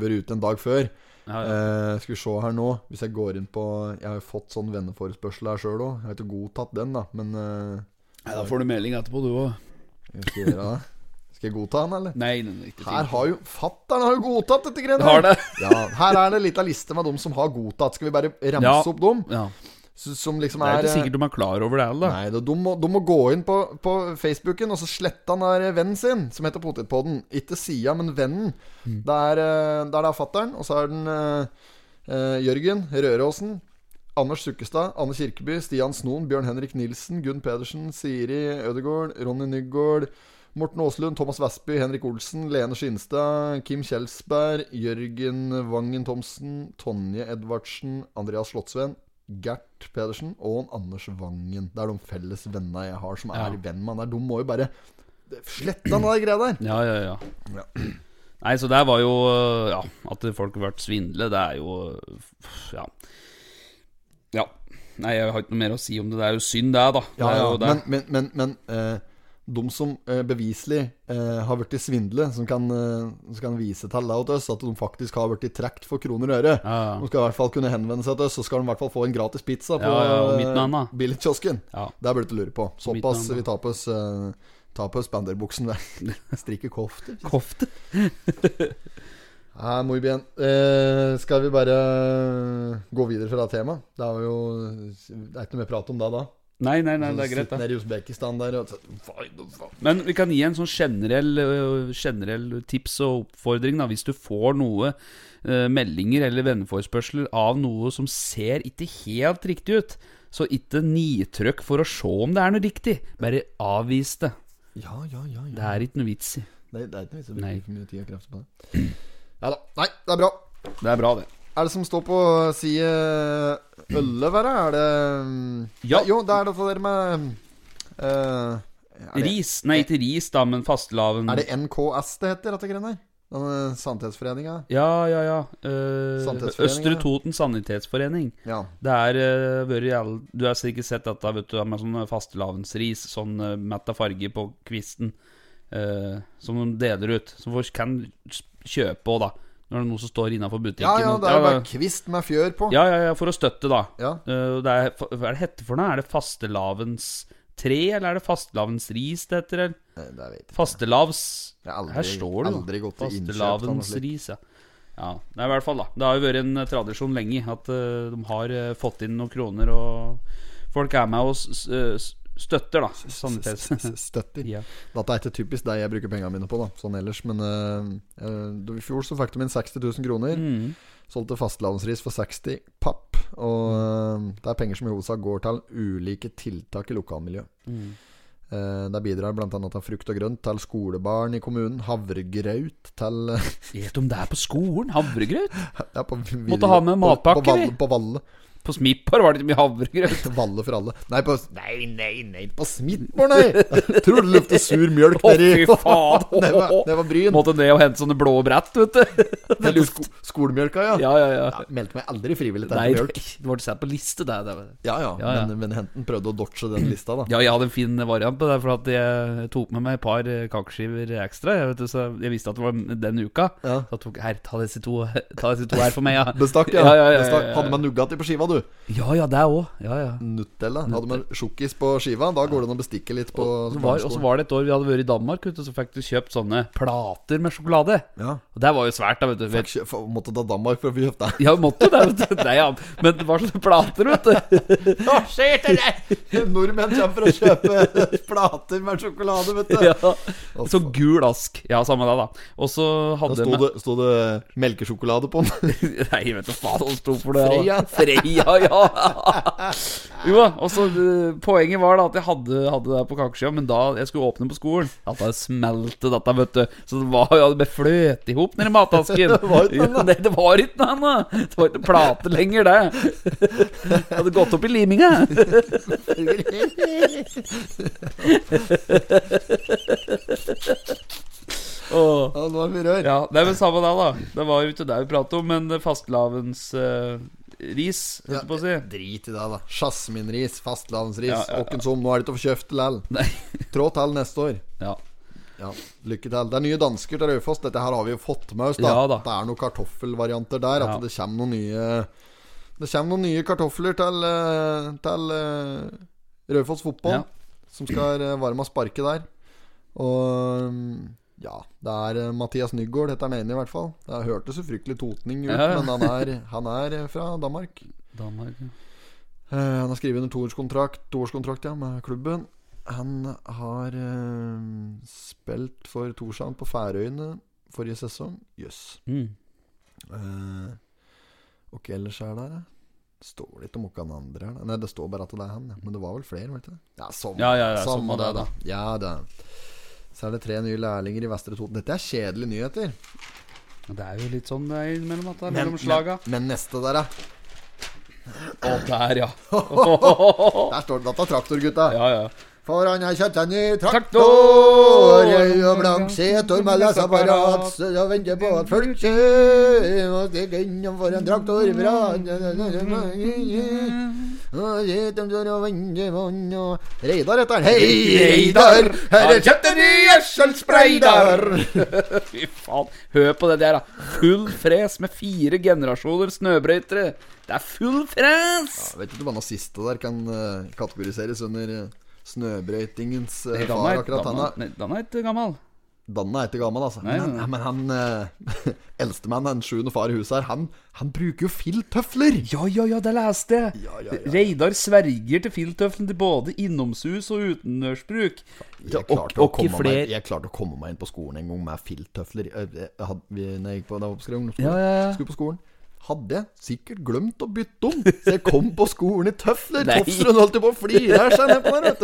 [SPEAKER 10] vært ute en dag før. Eh, skal vi se her nå Hvis jeg går inn på Jeg har jo fått sånn venneforespørsel her sjøl òg. Jeg har ikke godtatt den, da, men eh,
[SPEAKER 1] Nei, da får du melding etterpå, du òg.
[SPEAKER 10] jeg skal, gjøre det. skal jeg godta den, eller?
[SPEAKER 1] Nei, nei, nei, ikke
[SPEAKER 10] Her
[SPEAKER 1] ting.
[SPEAKER 10] har jo Fattern har jo godtatt dette greiene!
[SPEAKER 1] Har det?
[SPEAKER 10] ja, her er det en lita liste med dem som har godtatt. Skal vi bare
[SPEAKER 1] Ja.
[SPEAKER 10] ramse opp dem?
[SPEAKER 1] Ja.
[SPEAKER 10] S- Som liksom
[SPEAKER 1] Det er
[SPEAKER 10] er,
[SPEAKER 1] jo ikke sikkert de er klar over det heller.
[SPEAKER 10] Nei, da, de, må, de må gå inn på, på Facebooken og så slette han der eh, vennen sin, som heter Potetpodden. Ikke sida, men vennen.
[SPEAKER 1] Mm.
[SPEAKER 10] Det er eh, der det er fatter'n, og så er den eh, eh, Jørgen Røråsen. Anders Sukkestad, Anne Kirkeby, Stian Snoen, Bjørn Henrik Nilsen, Gunn Pedersen, Siri Ødegaard, Ronny Nygaard, Morten Aaslund, Thomas Vestby, Henrik Olsen, Lene Skinstad, Kim Kjelsberg, Jørgen Vangen Thomsen, Tonje Edvardsen, Andreas Slottsveen, Gert Pedersen og Anders Vangen. Det er de felles vennene jeg har som er
[SPEAKER 1] Ja.
[SPEAKER 10] venn med han der. De må jo bare slette han der greia der.
[SPEAKER 1] Ja, ja, ja. Nei, så der var jo øh, Ja, at folk har vært svindle, det er jo øh, Ja. Ja. Nei, jeg har ikke noe mer å si om det. Det er jo synd, det, da. Det
[SPEAKER 10] Ja,
[SPEAKER 1] er
[SPEAKER 10] ja,
[SPEAKER 1] jo det.
[SPEAKER 10] men men, men, men eh, de som eh, beviselig eh, har blitt svindle, som kan, eh, som kan vise til deg og til oss at de faktisk har blitt trukket for kroner og øre
[SPEAKER 1] Ja, ja.
[SPEAKER 10] De skal i hvert fall kunne henvende seg til oss, så skal de i hvert fall få en gratis pizza på
[SPEAKER 1] Ja, ja, og mitt navn, da.
[SPEAKER 10] eh, billigkiosken.
[SPEAKER 1] Ja.
[SPEAKER 10] Det er bare til å lure på.
[SPEAKER 1] navn,
[SPEAKER 10] Såpass
[SPEAKER 1] da.
[SPEAKER 10] vi tar på oss eh, Ta på oss banderbuksen der. Strikke kofter.
[SPEAKER 1] Kofte.
[SPEAKER 10] Ja, muy bien. Eh, skal vi bare eh, gå videre fra temaet? Det er jo Det er ikke noe mer prat om det da.
[SPEAKER 1] Nei, nei, nei, det er greit,
[SPEAKER 10] Sitter
[SPEAKER 1] det.
[SPEAKER 10] nede i Usbekistan der og faen, faen.
[SPEAKER 1] Men vi kan gi en sånn generell, øh, generell tips og oppfordring, da. Hvis du får noe øh, meldinger eller venneforespørsler av noe som ser ikke helt riktig ut, så ikke nitrykk for å se om det er noe riktig. Bare avvis det.
[SPEAKER 10] Ja, ja, ja. ja.
[SPEAKER 1] Det er ikke noe vits i.
[SPEAKER 10] Nei, det er ikke noe vits i å
[SPEAKER 1] Nei.
[SPEAKER 10] bruke for mye tid og krefter på det. Ja da. Nei, det er bra.
[SPEAKER 1] Det er bra, det.
[SPEAKER 10] Er det som står på side 11 her, er det mm,
[SPEAKER 1] Ja.
[SPEAKER 10] Nei, Jo, det er dette der med eh, er, det,
[SPEAKER 1] Ris? Nei, ikke ris, da, men fastelavn.
[SPEAKER 10] er det NKS det heter, dette greiene her? Denne Sannhetsforeninga?
[SPEAKER 1] Ja, ja, ja. Eh,
[SPEAKER 10] Sanitetsforeningen,
[SPEAKER 1] Østre
[SPEAKER 10] ja.
[SPEAKER 1] Toten Sanitetsforening.
[SPEAKER 10] Ja.
[SPEAKER 1] Det er eh, vært jævl- Du har sikkert sett dette vet du, med sånn fastelavnsris, sånn uh, metta farge på kvisten, eh, som de deler ut. Som folk kan s- kjøpe òg, da. Når det er noe som står innafor butikken.
[SPEAKER 10] ja, ja,
[SPEAKER 1] og-
[SPEAKER 10] det er jo bare kvist med fjør på.
[SPEAKER 1] ja, ja, ja, for å støtte, da.
[SPEAKER 10] Ja.
[SPEAKER 1] Eh, og det er, hva er det hette for noe? Er det fastelavnstre, eller er det fastelavnsris det heter? Eller?
[SPEAKER 10] Nei, Det vet jeg.
[SPEAKER 1] Fastelavns
[SPEAKER 10] Jeg har aldri-
[SPEAKER 1] Her står det jo.
[SPEAKER 10] aldri gått til innkjøp, sånn
[SPEAKER 1] Fastelavnsris, ja. ja. Det er i hvert fall, da. Det har jo vært en eh, tradisjon lenge at eh, de har eh, fått inn noen kroner, og folk er med og s- s- eh, s- støtter, da. Sanitets.
[SPEAKER 10] S- Støtter.
[SPEAKER 1] ja.
[SPEAKER 10] Dette er ikke typisk deg jeg bruker pengene mine på, da sånn ellers. Men eh, eh, da- i fjor så fikk de inn 60 000 kroner.
[SPEAKER 1] Mm.
[SPEAKER 10] Solgte fastelavnsris for 60 papp. Og
[SPEAKER 1] Mm.
[SPEAKER 10] eh, det er penger som i hovedsak går til ulike tiltak i lokalmiljøet.
[SPEAKER 1] Mm.
[SPEAKER 10] Eh, der bidrar bl.a. til frukt og grønt til skolebarn i kommunen. Havregrøt til
[SPEAKER 1] Vet du om det er på skolen? Havregrøt?
[SPEAKER 10] ja, på, vil-
[SPEAKER 1] Måtte ha med matpakke,
[SPEAKER 10] på, på,
[SPEAKER 1] vi.
[SPEAKER 10] Valle- på Valle.
[SPEAKER 1] På Smippar var det ikke mye havregrøt.
[SPEAKER 10] Valle for alle. Nei, på Nei, nei, nei på Smidtborg, nei! Tror du det lukter sur mjølk
[SPEAKER 1] Å,
[SPEAKER 10] nedi
[SPEAKER 1] fy faen.
[SPEAKER 10] Det var, det var Bryn.
[SPEAKER 1] Måtte ned og hente sånne blå brett, vet du.
[SPEAKER 10] Det lukter sko skolemjølka, ja.
[SPEAKER 1] Ja, ja, ja.
[SPEAKER 10] Ja, Meldte meg aldri frivillig til
[SPEAKER 1] Nei,
[SPEAKER 10] mjølk.
[SPEAKER 1] det det ble satt på liste, det. det. var-
[SPEAKER 10] Ja, ja,
[SPEAKER 1] Ja, ja.
[SPEAKER 10] Men, men Henten prøvde å dodge den lista, da.
[SPEAKER 1] Ja, jeg hadde en fin variant på det, for at jeg tok med meg et par eh, kakeskiver ekstra. Jeg, vet, du, så jeg visste at det var den uka.
[SPEAKER 10] Ja.
[SPEAKER 1] Så jeg tok her, ta disse to, ta disse to her for meg, ja.
[SPEAKER 10] Bestakk, ja.
[SPEAKER 1] Ja, ja, ja, ja,
[SPEAKER 10] Bestakk.
[SPEAKER 1] ja.
[SPEAKER 10] Hadde man Nugatti på skiva, du?
[SPEAKER 1] Ja, ja, det òg. Ja, ja.
[SPEAKER 10] Nutella. Hadde man sjokkis på skiva, da går det an å bestikke litt på
[SPEAKER 1] Og så var, og så var det et år vi hadde vært i Danmark, vet du, så fikk du kjøpt sånne plater med sjokolade.
[SPEAKER 10] Ja.
[SPEAKER 1] Og det var jo svært, da, vet du. Vet,
[SPEAKER 10] Kjø- for- Måtte ta Danmark for å få kjøpt det.
[SPEAKER 1] ja, måtte jo det, vet du. Nei, ja. Men det var sånne plater, vet du.
[SPEAKER 10] Nordmenn kommer for å kjøpe plater med sjokolade, vet du.
[SPEAKER 1] Ja. Så gul ask. Ja, samme det, da. Og så
[SPEAKER 10] Da
[SPEAKER 1] hadde
[SPEAKER 10] sto det, sto det melkesjokolade på den.
[SPEAKER 1] Nei, jeg vet da faen hva det sto for det.
[SPEAKER 10] Freia.
[SPEAKER 1] da. Freia, ja. Jo da, og så eh, Poenget var da at jeg hadde, hadde det på kakeskia, men da jeg skulle åpne på skolen At det smelte dette, vet du. Så det var jo det ble fløt i hop nedi matasken.
[SPEAKER 10] Det var ikke noe annet.
[SPEAKER 1] Nei, det var ikke noe annet. Det var ikke plate lenger, det. Det hadde gått opp i liminga. Åh.
[SPEAKER 10] Ja, nå er vi rør.
[SPEAKER 1] Ja, det er vel samme det, da. Det var jo ikke det vi pratet om, men fastelavns eh, ris, holdt jeg på å si.
[SPEAKER 10] Drit i det, da. Sjasminris, fastlandsris,
[SPEAKER 1] Ja, ja, ja.
[SPEAKER 10] åkken som. Nå er det til å få kjøpt lell.
[SPEAKER 1] Nei.
[SPEAKER 10] Trå til neste år.
[SPEAKER 1] Ja.
[SPEAKER 10] Ja, Lykke til. Det er nye dansker til Raufoss. Dette her har vi jo fått med oss. da,
[SPEAKER 1] Ja, da.
[SPEAKER 10] Det er noen kartoffelvarianter der. At
[SPEAKER 1] Ja.
[SPEAKER 10] det kommer noen nye Det kommer noen nye kartofler til, eh, til eh, Raufoss fotball.
[SPEAKER 1] Ja.
[SPEAKER 10] Som skal eh, være med og sparke der. Og mm, ja, det er eh, Mathias Nygaard, heter han ene i hvert fall. Det hørtes jo fryktelig totning ut,
[SPEAKER 1] Ja.
[SPEAKER 10] men han er, han er eh, fra Danmark.
[SPEAKER 1] Danmark, ja.
[SPEAKER 10] Eh, han har skrevet under toårskontrakt, toårskontrakt ja, med klubben. Han har eh, spilt for Torshavn på Færøyene forrige sesong. Jøss.
[SPEAKER 1] Mm.
[SPEAKER 10] Eh, og hva ellers er det her, da? Står det ikke om noen andre her? da? Nei, det står bare at det er han. ja. Men det var vel flere, var det ikke det? Ja, samme,
[SPEAKER 1] Ja, ja, ja,
[SPEAKER 10] samme
[SPEAKER 1] samme
[SPEAKER 10] det,
[SPEAKER 1] det,
[SPEAKER 10] da. Ja, det. Så er det tre nye lærlinger i Vestre Toten. Dette er kjedelige nyheter.
[SPEAKER 1] Det er jo litt sånn det er innimellom at det er
[SPEAKER 10] Men,
[SPEAKER 1] mellom slaga.
[SPEAKER 10] men, men neste der, da.
[SPEAKER 1] Å, der, ja.
[SPEAKER 10] Der står det at det er traktorgutta.
[SPEAKER 1] Ja, ja.
[SPEAKER 10] For han har kjøpt en ny traktor,
[SPEAKER 1] Traktor!
[SPEAKER 10] rød og blank seter med leseapparat, så jeg venter på at folk kjører, og stikker innom for en traktor fra Og dit de står og venter på han, og Reidar heter han. Hei, Reidar! Her er kjøpt en ny gjødselspray der!
[SPEAKER 1] Fy faen. Hør på det der, da. Full fres med fire generasjoner snøbrøytere. Det er full fres!
[SPEAKER 10] Vet ikke hva naziste der kan eh, kategoriseres under eh, snøbrøytingens eh,
[SPEAKER 1] Nei, Dan
[SPEAKER 10] far,
[SPEAKER 1] er-
[SPEAKER 10] akkurat
[SPEAKER 1] Dan er-
[SPEAKER 10] han da.
[SPEAKER 1] nei, Dan er ikke gammel.
[SPEAKER 10] Danne er ikke gammel, altså.
[SPEAKER 1] Nei,
[SPEAKER 10] men,
[SPEAKER 1] nei.
[SPEAKER 10] men han eh, eldstemann, den sjuende far i huset her, han, han bruker jo filttøfler!
[SPEAKER 1] Ja, ja, ja, det leste jeg.
[SPEAKER 10] Ja, ja, ja.
[SPEAKER 1] Reidar sverger til filttøflene til både innomsus og utendørsbruk.
[SPEAKER 10] Jeg
[SPEAKER 1] og-
[SPEAKER 10] klarte,
[SPEAKER 1] og
[SPEAKER 10] å, komme
[SPEAKER 1] i fler-
[SPEAKER 10] meg, jeg klarte å komme meg inn på skolen en gang med filttøfler. Jeg, jeg, jeg hadde, vi, når jeg gikk på, da jeg skrev ungdomsskolen,
[SPEAKER 1] Ja, ja, ja.
[SPEAKER 10] skulle på skolen. Hadde jeg sikkert glemt å bytte om, så jeg kom på skolen i tøfler!
[SPEAKER 1] Nei.
[SPEAKER 10] Tofsrud holdt jo på å flire her, seg ned på der, vet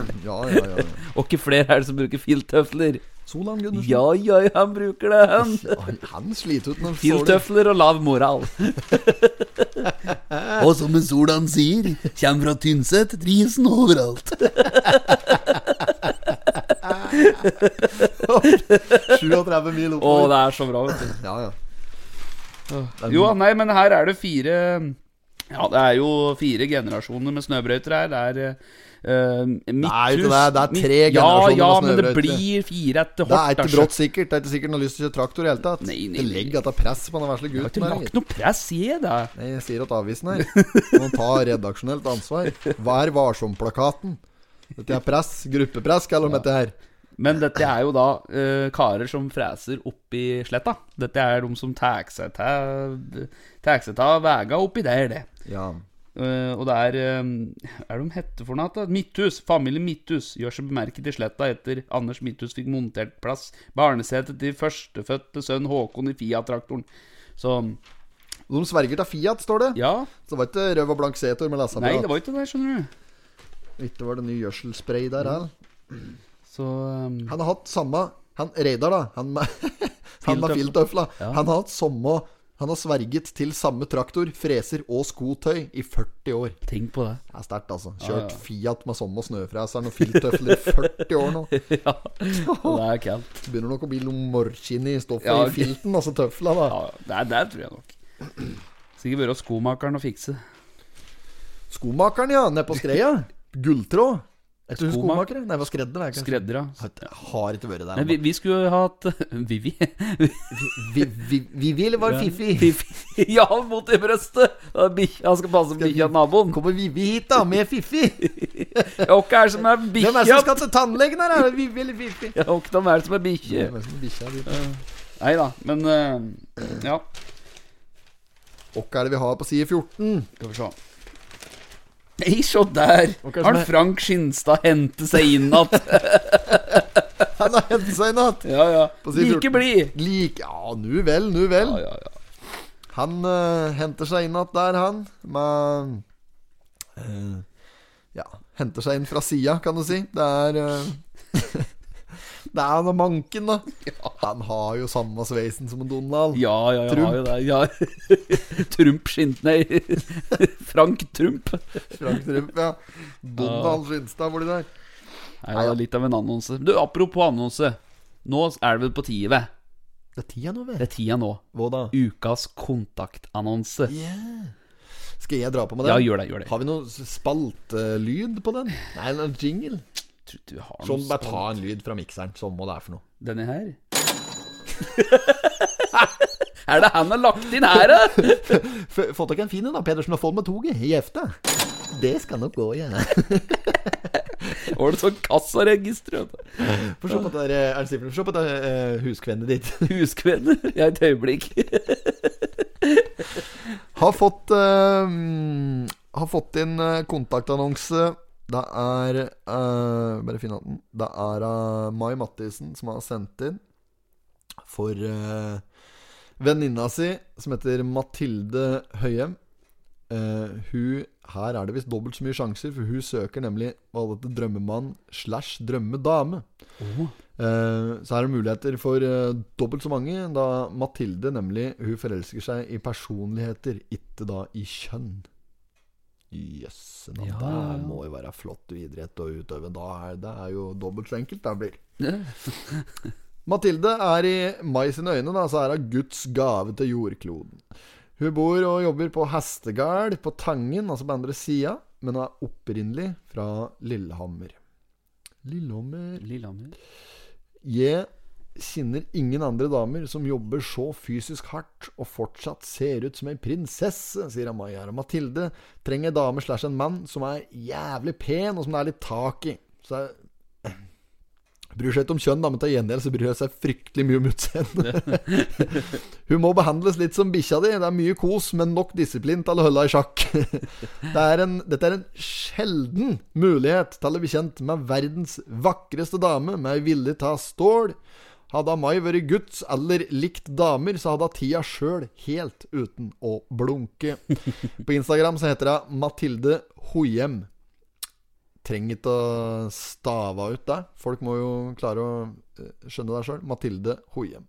[SPEAKER 10] du. Ja, ja, ja. ja.
[SPEAKER 1] Og ikke flere er det som bruker filttøfler.
[SPEAKER 10] Solan Gundersen.
[SPEAKER 1] Ja, ja, ja, han bruker det, han.
[SPEAKER 10] Han, han sliter ut når han får det.
[SPEAKER 1] Filttøfler og lav moral.
[SPEAKER 3] Og som en Solan sier, kjem fra Tynset, drisen overalt.
[SPEAKER 10] 37 mil
[SPEAKER 1] Å,
[SPEAKER 10] oppover.
[SPEAKER 1] det er så bra, vet du.
[SPEAKER 10] Ja, ja.
[SPEAKER 1] Jo, nei, men her er det fire Ja, det er jo fire generasjoner med snøbrøyter her. Det er eh, uh,
[SPEAKER 10] Nei, det er- det er tre
[SPEAKER 1] ja,
[SPEAKER 10] generasjoner med
[SPEAKER 1] Ja, men det
[SPEAKER 10] snøbrøyter.
[SPEAKER 1] blir fire etter
[SPEAKER 10] Det er
[SPEAKER 1] hvert.
[SPEAKER 10] ikke brått sikkert. Det er ikke sikkert han har lyst til å kjøre traktor i det hele tatt.
[SPEAKER 1] altså. Nei, nei,
[SPEAKER 10] det
[SPEAKER 1] nei.
[SPEAKER 10] legger at det er press på den vesle
[SPEAKER 1] Jeg har
[SPEAKER 10] gutten.
[SPEAKER 1] ikke
[SPEAKER 10] her,
[SPEAKER 1] lagt
[SPEAKER 10] gitt.
[SPEAKER 1] noe press i det.
[SPEAKER 10] Nei, jeg sier at avisen her må ta redaksjonelt ansvar. Vær varsom-plakaten. Dette er press. Gruppepress, kaller de dette her.
[SPEAKER 1] Men dette er jo da eh, karer som freser oppi sletta. Dette er de som tar seg til tar seg til vega oppi der, det.
[SPEAKER 10] Ja.
[SPEAKER 1] Eh, og det er eh, Hva er det de heter for noe? da? Midthus. Familien Midthus gjør seg bemerket i sletta etter Anders Midthus fikk montert plass barnesetet til førstefødte sønn Håkon i Fiat-traktoren. Så
[SPEAKER 10] De sverger til Fiat, står det.
[SPEAKER 1] ja.
[SPEAKER 10] Så det var ikke røv og blank setor med
[SPEAKER 1] Nei, det
[SPEAKER 10] leseapparat.
[SPEAKER 1] var ikke det, skjønner du.
[SPEAKER 10] Ikke var det ny gjødselspray der
[SPEAKER 1] Mm.
[SPEAKER 10] heller.
[SPEAKER 1] Så eh,
[SPEAKER 10] Han har hatt samme Han Reidar, da. Han med, han med filttøfla. Han har hatt samme Han har sverget til samme traktor, freser og skotøy i 40 år.
[SPEAKER 1] tenk på det.
[SPEAKER 10] Det er sterkt, altså. Kjørt Fiat med samme snøfreseren og filttøfler i 40 år nå.
[SPEAKER 1] ja. Og det er kaldt.
[SPEAKER 10] Det begynner nok å bli noe morskinn i stoffet
[SPEAKER 1] Ja,
[SPEAKER 10] i filten, altså tøfla, da.
[SPEAKER 1] Ja, det, er- det tror jeg nok. Sikkert være hos skomakeren og fikse.
[SPEAKER 10] Skomakeren, ja. Nede på skreia. Gulltråd. Er ikke hun
[SPEAKER 1] Skomak-
[SPEAKER 10] skomaker? Nei, det var skredder. det er kanskje.
[SPEAKER 1] Skredder, ja.
[SPEAKER 10] Har ikke vært der.
[SPEAKER 1] Nei, vi, vi skulle jo hatt Vivi.
[SPEAKER 10] vi, vi, vi vil være fiffi.
[SPEAKER 1] Vivi. Ja, mot i brøstet! Da er bikkja- Han skal passe på bikkja til naboen.
[SPEAKER 10] Kommer Vivi hit, da, med Fiffi?
[SPEAKER 1] Ja, altså, Hvem er det som er
[SPEAKER 10] Hvem
[SPEAKER 1] bikkja?
[SPEAKER 10] er det som skal til tannlegen her? Er det Vivi eller Fiffi?
[SPEAKER 1] Ja, Hvem er det som er bikkje?
[SPEAKER 10] Hvem er det som er bikkja di?
[SPEAKER 1] Nei da, men eh, Ja,
[SPEAKER 10] Hvem er det vi har på side 14?
[SPEAKER 1] skal vi se. Nei, se der!
[SPEAKER 10] Hva er det som
[SPEAKER 1] Har
[SPEAKER 10] er-
[SPEAKER 1] Frank Skinstad hentet seg inn igjen?
[SPEAKER 10] Han har hentet seg i natt.
[SPEAKER 1] Ja, ja.
[SPEAKER 10] På side
[SPEAKER 1] Like
[SPEAKER 10] 14.
[SPEAKER 1] blid!
[SPEAKER 10] Like Ja, nu vel, nu vel.
[SPEAKER 1] Ja, ja, ja.
[SPEAKER 10] Han eh, henter seg inn igjen der, han. Med eh, Ja, henter seg inn fra sida, kan du si. Det er eh, Det er han og manken, da. Han har jo samme sveisen som en Donald.
[SPEAKER 1] Ja, ja, ja,
[SPEAKER 10] Trump.
[SPEAKER 1] har jo det. Ja. Trump skint Nei, Frank Trump.
[SPEAKER 10] Frank Trump, ja. Donald Skinstad, hvor de der.
[SPEAKER 1] Nei, det er litt av en annonse. Du, apropos annonse. Nå er det vel på tide. vel?
[SPEAKER 10] Det er tida nå,
[SPEAKER 1] Det
[SPEAKER 10] vel.
[SPEAKER 1] er tida nå.
[SPEAKER 10] Hva da?
[SPEAKER 1] Ukas kontaktannonse.
[SPEAKER 10] Skal jeg dra på med den?
[SPEAKER 1] Ja, gjør det. gjør det
[SPEAKER 10] Har vi noe spaltelyd på den? Nei, en jingle.
[SPEAKER 1] Jeg tror ikke vi har
[SPEAKER 10] Sånn,
[SPEAKER 1] noe
[SPEAKER 10] bare ta en lyd fra mikseren, som hva det er for noe.
[SPEAKER 1] Denne her? er det han har lagt inn her, da?
[SPEAKER 10] F- Fått dere en fin en, da, Pedersen, og få den med toget i efta. Det skal nok gå, ja.
[SPEAKER 1] Var det sånn kassaregister? vet du?
[SPEAKER 10] Få se på det der, eh, er det Simen, se på det eh, huskvennet ditt.
[SPEAKER 1] Huskvenner? Ja, et øyeblikk.
[SPEAKER 10] Har fått, eh, mm, har fått inn eh, kontaktannonse. Det er eh, Bare finn den. Det er av Mai Mattisen som har sendt inn for eh, venninna si, som heter Mathilde Høyem. Eh, hun, her er det visst dobbelt så mye sjanser, for hun søker nemlig hva dette drømmemann slash drømmedame.
[SPEAKER 1] Oh.
[SPEAKER 10] Eh, så her er det muligheter for eh, dobbelt så mange, da Mathilde nemlig hun forelsker seg i personligheter, ikke da i kjønn. Jøsse navn,
[SPEAKER 1] Ja,
[SPEAKER 10] det
[SPEAKER 1] ja, ja.
[SPEAKER 10] her må jo være flott idrett å utøve. Da er det er jo dobbelt så enkelt det blir. Mathilde er i Mai sine øyne da, så er hun Guds gave til jordkloden. Hun bor og jobber på Hestegard på Tangen, altså på andre sida, men hun er opprinnelig fra Lillehammer. Lillehammer
[SPEAKER 1] Lillehammer.
[SPEAKER 10] Jeg kjenner ingen andre damer som jobber så fysisk hardt og fortsatt ser ut som ei prinsesse, sier Amaya. Og Mathilde trenger ei dame slash en mann som er jævlig pen, og som det er litt tak i. Så jeg Bryr seg ikke om kjønn, da, men til gjengjeld så bryr hun seg fryktelig mye om utseendet. hun må behandles litt som bikkja di. Det er mye kos, men nok disiplin til å holde henne i sjakk. det er en, dette er en sjelden mulighet til å bli kjent med verdens vakreste dame med ei vilje til stål. Hadde Mai vært guds eller likt damer, så hadde hun tida sjøl helt uten å blunke. På Instagram så heter hun Mathilde Hohjem trenger ikke å stave ut det. Folk må jo klare å eh, skjønne det sjøl. Mathilde Hohjem.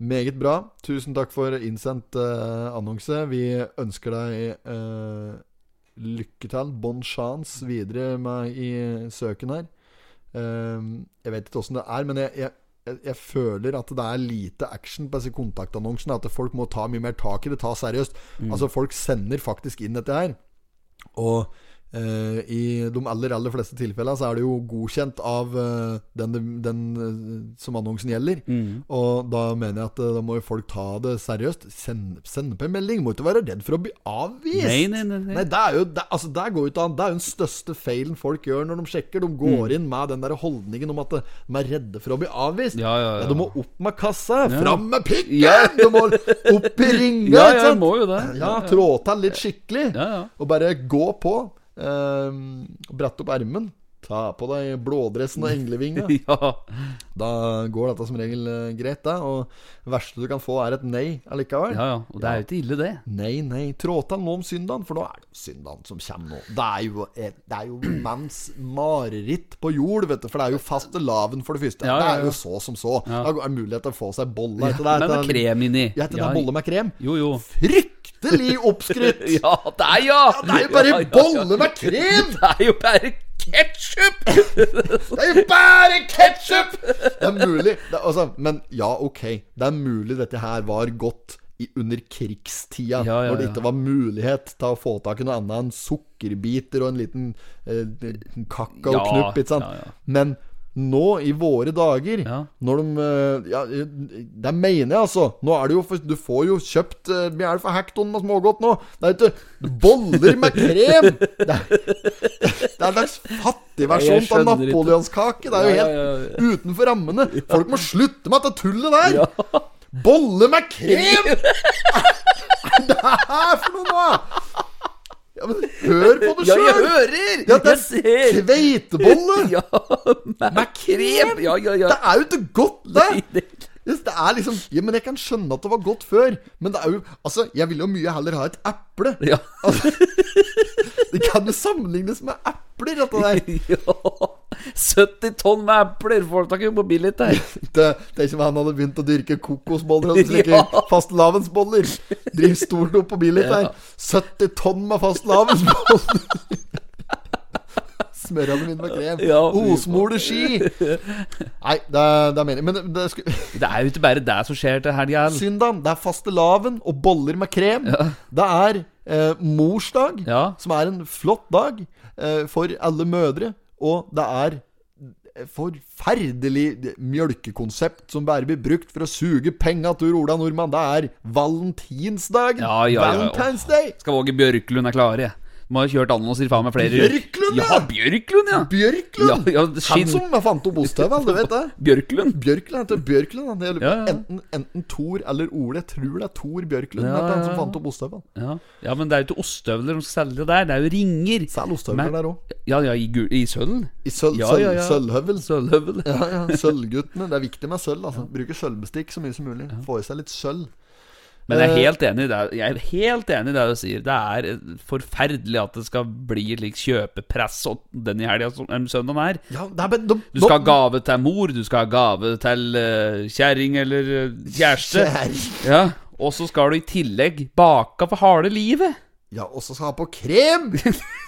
[SPEAKER 10] Meget bra. Tusen takk for innsendt eh, annonse. Vi ønsker deg eh, lykke til. Bon chance videre med i søken her. Eh, jeg vet ikke åssen det er, men jeg, jeg jeg jeg føler at det er lite action på disse kontaktannonsene. At folk må ta mye mer tak i det, ta seriøst.
[SPEAKER 3] Mm.
[SPEAKER 10] Altså, folk sender faktisk inn dette her. Og eh, i de aller, aller fleste tilfellene så er det jo godkjent av eh, den, den eh, som annonsen gjelder.
[SPEAKER 1] Mm.
[SPEAKER 10] Og da mener jeg at eh, da må jo folk ta det seriøst. Send, send på en melding. Må ikke være redd for å bli avvist.
[SPEAKER 1] Nei, nei, nei, nei.
[SPEAKER 10] det er jo det, altså, det går jo ikke an. Det er jo den største feilen folk gjør når de sjekker. De
[SPEAKER 1] Mm.
[SPEAKER 10] går inn med den der holdningen om at eh, de er redde for å bli avvist.
[SPEAKER 1] Ja, ja, ja.
[SPEAKER 10] Du må opp med kassa!
[SPEAKER 1] Ja.
[SPEAKER 10] Fram med pikken!
[SPEAKER 1] Ja.
[SPEAKER 10] Du må opp i ringa!
[SPEAKER 1] Ja,
[SPEAKER 10] ikke
[SPEAKER 1] ja,
[SPEAKER 10] sant?
[SPEAKER 1] må jo det.
[SPEAKER 10] Ja,
[SPEAKER 1] Ja, ja.
[SPEAKER 10] trå til litt skikkelig. Og bare gå på. Eh, brett opp ermen. Ta på deg blådressen og englevinga. Da går dette som regel eh, greit, da. Og det verste du kan få, er et nei allikevel.
[SPEAKER 1] Ja, ja. Og det er jo ikke ille, det.
[SPEAKER 10] Nei, nei. Trå til nå om søndagen, for da er det jo søndagen som kommer nå. Det er jo, et, det er jo menns mareritt på jord, vet du. For det er jo fastelavn, for det første.
[SPEAKER 1] Ja, ja,
[SPEAKER 10] Det
[SPEAKER 1] ja.
[SPEAKER 10] er jo så som så.
[SPEAKER 1] Ja.
[SPEAKER 10] Da er det mulighet til å få seg bolle
[SPEAKER 1] Ja,
[SPEAKER 10] etter det.
[SPEAKER 1] men
[SPEAKER 10] etter
[SPEAKER 1] med krem inni.
[SPEAKER 10] Ja, etter
[SPEAKER 1] Ja.
[SPEAKER 10] det bolle med krem.
[SPEAKER 1] Jo, jo.
[SPEAKER 10] Fryktelig oppskrytt!
[SPEAKER 1] ja, det er ja!
[SPEAKER 10] Det er jo bare
[SPEAKER 1] ja, ja, ja.
[SPEAKER 10] bolle med krem!
[SPEAKER 1] Det er jo bare ketsjup!
[SPEAKER 10] Det er jo bare ketsjup! Det er mulig. Det, er- altså, men ja, ok. Det er mulig dette her var godt i, under krigstida,
[SPEAKER 1] Ja, ja,
[SPEAKER 10] når det
[SPEAKER 1] ja.
[SPEAKER 10] ikke var mulighet til å få tak i noe annet enn sukkerbiter og en liten eh, kakaoknupp,
[SPEAKER 1] Ja,
[SPEAKER 10] ikke sant.
[SPEAKER 1] ja, ja.
[SPEAKER 10] Men nå, i våre dager, når de eh, ja, Det mener jeg, altså. Nå er det jo for, Du får jo kjøpt eh, Mye er det for hekton med smågodt nå? Det er ikke boller med krem! Det er, det er en slags fattig
[SPEAKER 1] Jeg
[SPEAKER 10] versjon av
[SPEAKER 1] skjønner ikke.
[SPEAKER 10] napoleonskake. Det er jo
[SPEAKER 1] Ja,
[SPEAKER 10] helt
[SPEAKER 1] ja, ja,
[SPEAKER 10] utenfor rammene. Folk må slutte med dette tullet der! Bolle med krem! Hva er det her for noe nå? Ja, men hør på det
[SPEAKER 1] Ja, jeg
[SPEAKER 10] sjøl!
[SPEAKER 1] hører!
[SPEAKER 10] Ja,
[SPEAKER 1] jeg
[SPEAKER 10] det er
[SPEAKER 1] ser!
[SPEAKER 10] kveitebolle!
[SPEAKER 1] Ja, med krem! Ja, ja, ja.
[SPEAKER 10] Det er jo ikke godt, det! Yes, Det er liksom Ja, men jeg kan skjønne at det var godt før, men det er jo Altså, jeg ville jo mye heller ha et eple.
[SPEAKER 1] Ja.
[SPEAKER 10] Altså, det kan jo sammenlignes med epler, dette der.
[SPEAKER 1] ja. 70 tonn med epler får du tak i på billig der.
[SPEAKER 10] Det, det er ikke om han hadde begynt å dyrke kokosboller og slikke
[SPEAKER 1] Ja.
[SPEAKER 10] fastelavnsboller. Driv stort opp på billig der.
[SPEAKER 1] Ja.
[SPEAKER 10] 70 tonn med fastelavnsboller. Smør han dem inn med krem.
[SPEAKER 1] Ja.
[SPEAKER 10] Osmole ski. Nei, det er, det er meningen. Men det, det skulle
[SPEAKER 1] Det er jo ikke bare det som skjer til helga.
[SPEAKER 10] Syndan, det er fastelavn og boller med krem. Det er eh, morsdag, som er en flott dag eh, for alle mødre. Og det er forferdelig mjølkekonsept som bare blir brukt for å suge penga til Ola Nordmann. Det er valentinsdagen.
[SPEAKER 1] Ja, ja, ja.
[SPEAKER 10] Valentine's Day.
[SPEAKER 1] Skal våge Bjørklund er klare. Må ha kjørt annonser faen meg flere
[SPEAKER 10] Bjørklund,
[SPEAKER 1] ja!
[SPEAKER 10] ja!
[SPEAKER 1] Bjørklund, ja!
[SPEAKER 10] Bjørklund!
[SPEAKER 1] Ja, ja,
[SPEAKER 10] Han
[SPEAKER 1] skinn-
[SPEAKER 10] som fant opp ostehøvel, du vet det?
[SPEAKER 1] Bjørklund.
[SPEAKER 10] Bjørklund heter Bjørklund. han. Jeg lurer på
[SPEAKER 1] Ja, ja.
[SPEAKER 10] Enten, enten Thor eller Ole. Jeg tror det er Thor Bjørklund
[SPEAKER 1] Ja,
[SPEAKER 10] heter han
[SPEAKER 1] ja,
[SPEAKER 10] som
[SPEAKER 1] ja.
[SPEAKER 10] fant opp ostehøvel.
[SPEAKER 1] Ja. ja, men det er jo ikke ostehøvler som skal selge der, det er jo ringer.
[SPEAKER 10] Selg ostehøvler der òg.
[SPEAKER 1] Ja, ja, i, gul, i sølv?
[SPEAKER 10] I sølv,
[SPEAKER 1] Ja,
[SPEAKER 10] sølv,
[SPEAKER 1] ja, ja.
[SPEAKER 10] sølvhøvel.
[SPEAKER 1] Sølvhøvel.
[SPEAKER 10] Ja, ja, Sølvguttene. Det er viktig med sølv. Altså. Bruke sølvbestikk så mye som mulig. Få i seg litt sølv.
[SPEAKER 1] Men jeg er helt enig i det Jeg er helt enig i det du sier. Det er forferdelig at det skal bli slik kjøpepress og den i helga som eller søndagen er.
[SPEAKER 10] Ja, nei, men nå-
[SPEAKER 1] Du skal ha
[SPEAKER 10] nå-
[SPEAKER 1] gave til mor, du skal ha gave til uh, kjerring eller eh, kjæreste. Ja, og så skal du i tillegg baka for harde livet.
[SPEAKER 10] Ja, og så skal ha på krem!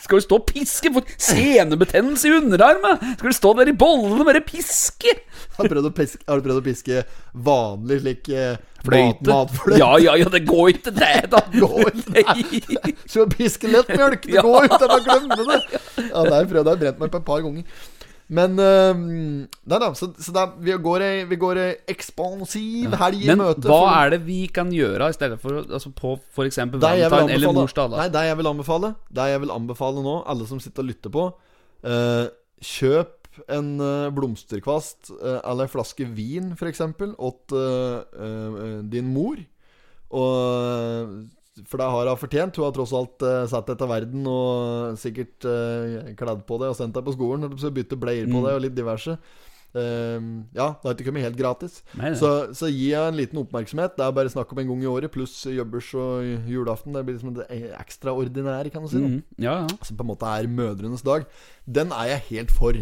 [SPEAKER 1] skal du stå og piske? For senebetennelse i underarmen! Skal du stå der i bollene og bare piske?
[SPEAKER 10] Har du prøvd å piske, har du prøvd å piske vanlig slik eh,
[SPEAKER 1] Fløyte?
[SPEAKER 10] Mat, matfløyte?
[SPEAKER 1] Ja, ja, ja, det går ikke det, da.
[SPEAKER 10] Går ikke
[SPEAKER 1] Nei.
[SPEAKER 10] Skal vi piske lettmjølk? Det
[SPEAKER 1] Ja.
[SPEAKER 10] går ut, jeg bare glemmer det! Ja, det har jeg prøvd, det har jeg brent meg på et par ganger. Men eh, Nei da, så, så det er- vi går ei, vi går ei ekspansiv helg i
[SPEAKER 1] Men
[SPEAKER 10] møte.
[SPEAKER 1] hva er det vi kan gjøre i stedet for altså på f.eks.
[SPEAKER 10] Det jeg vil
[SPEAKER 1] Valentine eller
[SPEAKER 10] anbefale-
[SPEAKER 1] morsdag? da?
[SPEAKER 10] Nei, det jeg vil anbefale Det jeg vil anbefale nå, alle som sitter og lytter på eh, Kjøp en eh, blomsterkvast eh, eller en flaske vin for eksempel Åt eh, eh, din mor og, eh, For det har hun fortjent Hun har tross alt eh, satt deg til verden Og sikkert eh, kledd på deg og sendt deg på skolen Og så bytte bleier på
[SPEAKER 1] Mm.
[SPEAKER 10] deg og litt diverse Eh, Ja, det har ikke kommet helt gratis
[SPEAKER 1] Nei, nei.
[SPEAKER 10] Så så gi henne en liten oppmerksomhet. Det er bare snakk om en gang i året, pluss jobbers og julaften. Det blir liksom det ekstraordinære, kan du si. da.
[SPEAKER 1] Mhm. Ja, ja.
[SPEAKER 10] Som på en måte er mødrenes dag. Den er jeg helt for.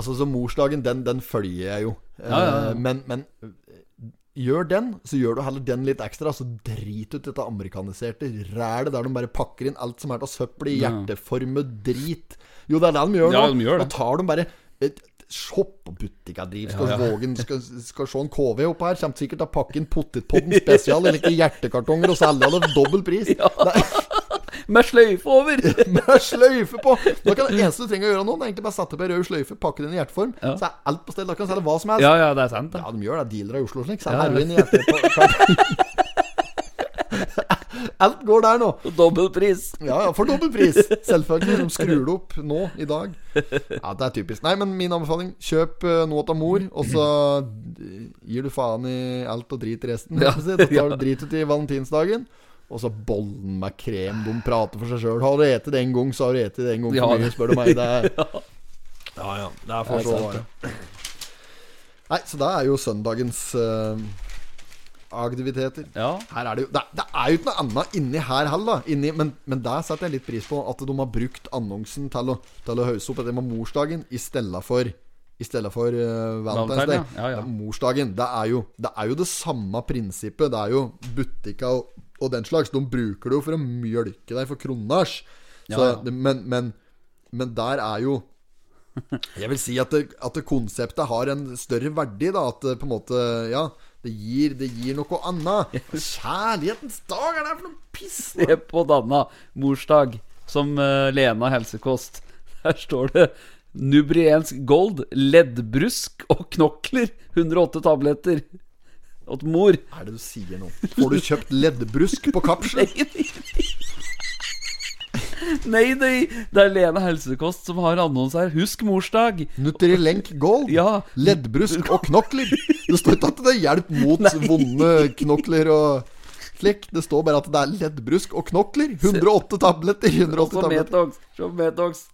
[SPEAKER 10] Altså, så morsdagen, den, den følger jeg jo.
[SPEAKER 1] Ja, ja, ja.
[SPEAKER 10] Eh, Men, men eh, gjør den, så gjør du heller den litt ekstra. Så drit ut dette amerikaniserte rælet der de bare pakker inn alt som er av søppel i
[SPEAKER 1] Ja.
[SPEAKER 10] hjerteformet drit. Jo, det er det de gjør
[SPEAKER 1] Ja,
[SPEAKER 10] nå.
[SPEAKER 1] de gjør det.
[SPEAKER 10] Nå tar de bare et- Se på butikka driv, skal
[SPEAKER 1] Ja, ja.
[SPEAKER 10] Vågen skal, skal se en KV opp her. Kommer sikkert til å pakke inn potetpodden spesial eller ikke hjertekartonger og selge det for dobbel pris. Det er
[SPEAKER 1] Med sløyfe over!
[SPEAKER 10] med sløyfe på. Da kan det eneste du trenger å gjøre nå, Det er egentlig bare sette opp ei rød sløyfe, pakke den i hjerteform,
[SPEAKER 1] Ja.
[SPEAKER 10] så er alt på stell. Da kan du selge hva som helst.
[SPEAKER 1] Ja, ja, det er sant, det.
[SPEAKER 10] Ja, de gjør det. Dealere i Oslo og slik. Selger
[SPEAKER 1] Ja, ja.
[SPEAKER 10] heroin i hjertet. Alt går der nå.
[SPEAKER 1] Dobbeltpris.
[SPEAKER 10] Ja, ja, for dobbel pris. Selvfølgelig. De skrur det opp nå, i dag. Ja, det er typisk. Nei, men min anbefaling kjøp eh, noe av mor, og så eh, gir du faen i alt og drit i resten. Ja. Da tar du drit ut i valentinsdagen. Og så bollen med krem. De prater for seg sjøl. Har du spist det en gang, så har du spist det en gang for
[SPEAKER 1] Ja.
[SPEAKER 10] mye, spør du meg. Det er,
[SPEAKER 2] Ja, ja. Det er
[SPEAKER 10] det er
[SPEAKER 2] for så
[SPEAKER 10] sant,
[SPEAKER 2] vidt.
[SPEAKER 10] det. Nei, så det er jo søndagens eh, aktiviteter.
[SPEAKER 1] Ja.
[SPEAKER 10] Her er det, jo, det, det er jo ikke noe annet inni her heller. da. Inni, men, men der setter jeg litt pris på at de har brukt annonsen til å, til å hause opp dette med morsdagen i stedet for i stedet for eh, Valentine's
[SPEAKER 1] Valentine,
[SPEAKER 10] Day.
[SPEAKER 1] ja. Ja, ja.
[SPEAKER 10] Morsdagen. Det er, jo, det er jo det samme prinsippet. Det er jo butikka og, og den slags. De bruker det jo for å mjølke deg for kronasj. Så,
[SPEAKER 1] Ja, ja.
[SPEAKER 10] det- Men, men, men der er jo jeg vil si at, det, at det konseptet har en større verdi, da. At det på en måte Ja, det gir, det gir noe annet. Kjærlighetens dag, er det for noe piss?
[SPEAKER 1] Se på Danna, morsdag, som eh, Lena Helsekost. Der står det Nubriensk gold, leddbrusk og knokler. 108 tabletter. Åt mor.
[SPEAKER 10] Hva er det du sier nå? Får du kjøpt leddbrusk på kapsel?
[SPEAKER 1] Nei, nei, det er Lena Helsekost som har annonse her. Husk morsdag.
[SPEAKER 10] Nutrilenk Gold?
[SPEAKER 1] Ja.
[SPEAKER 10] Leddbrusk og knokler? Det står ikke at det er hjelp mot vonde knokler og slik. Det står bare at det er leddbrusk og knokler. 108 tabletter. 108
[SPEAKER 1] Som
[SPEAKER 10] tabletter.
[SPEAKER 1] Metox. Som Metox.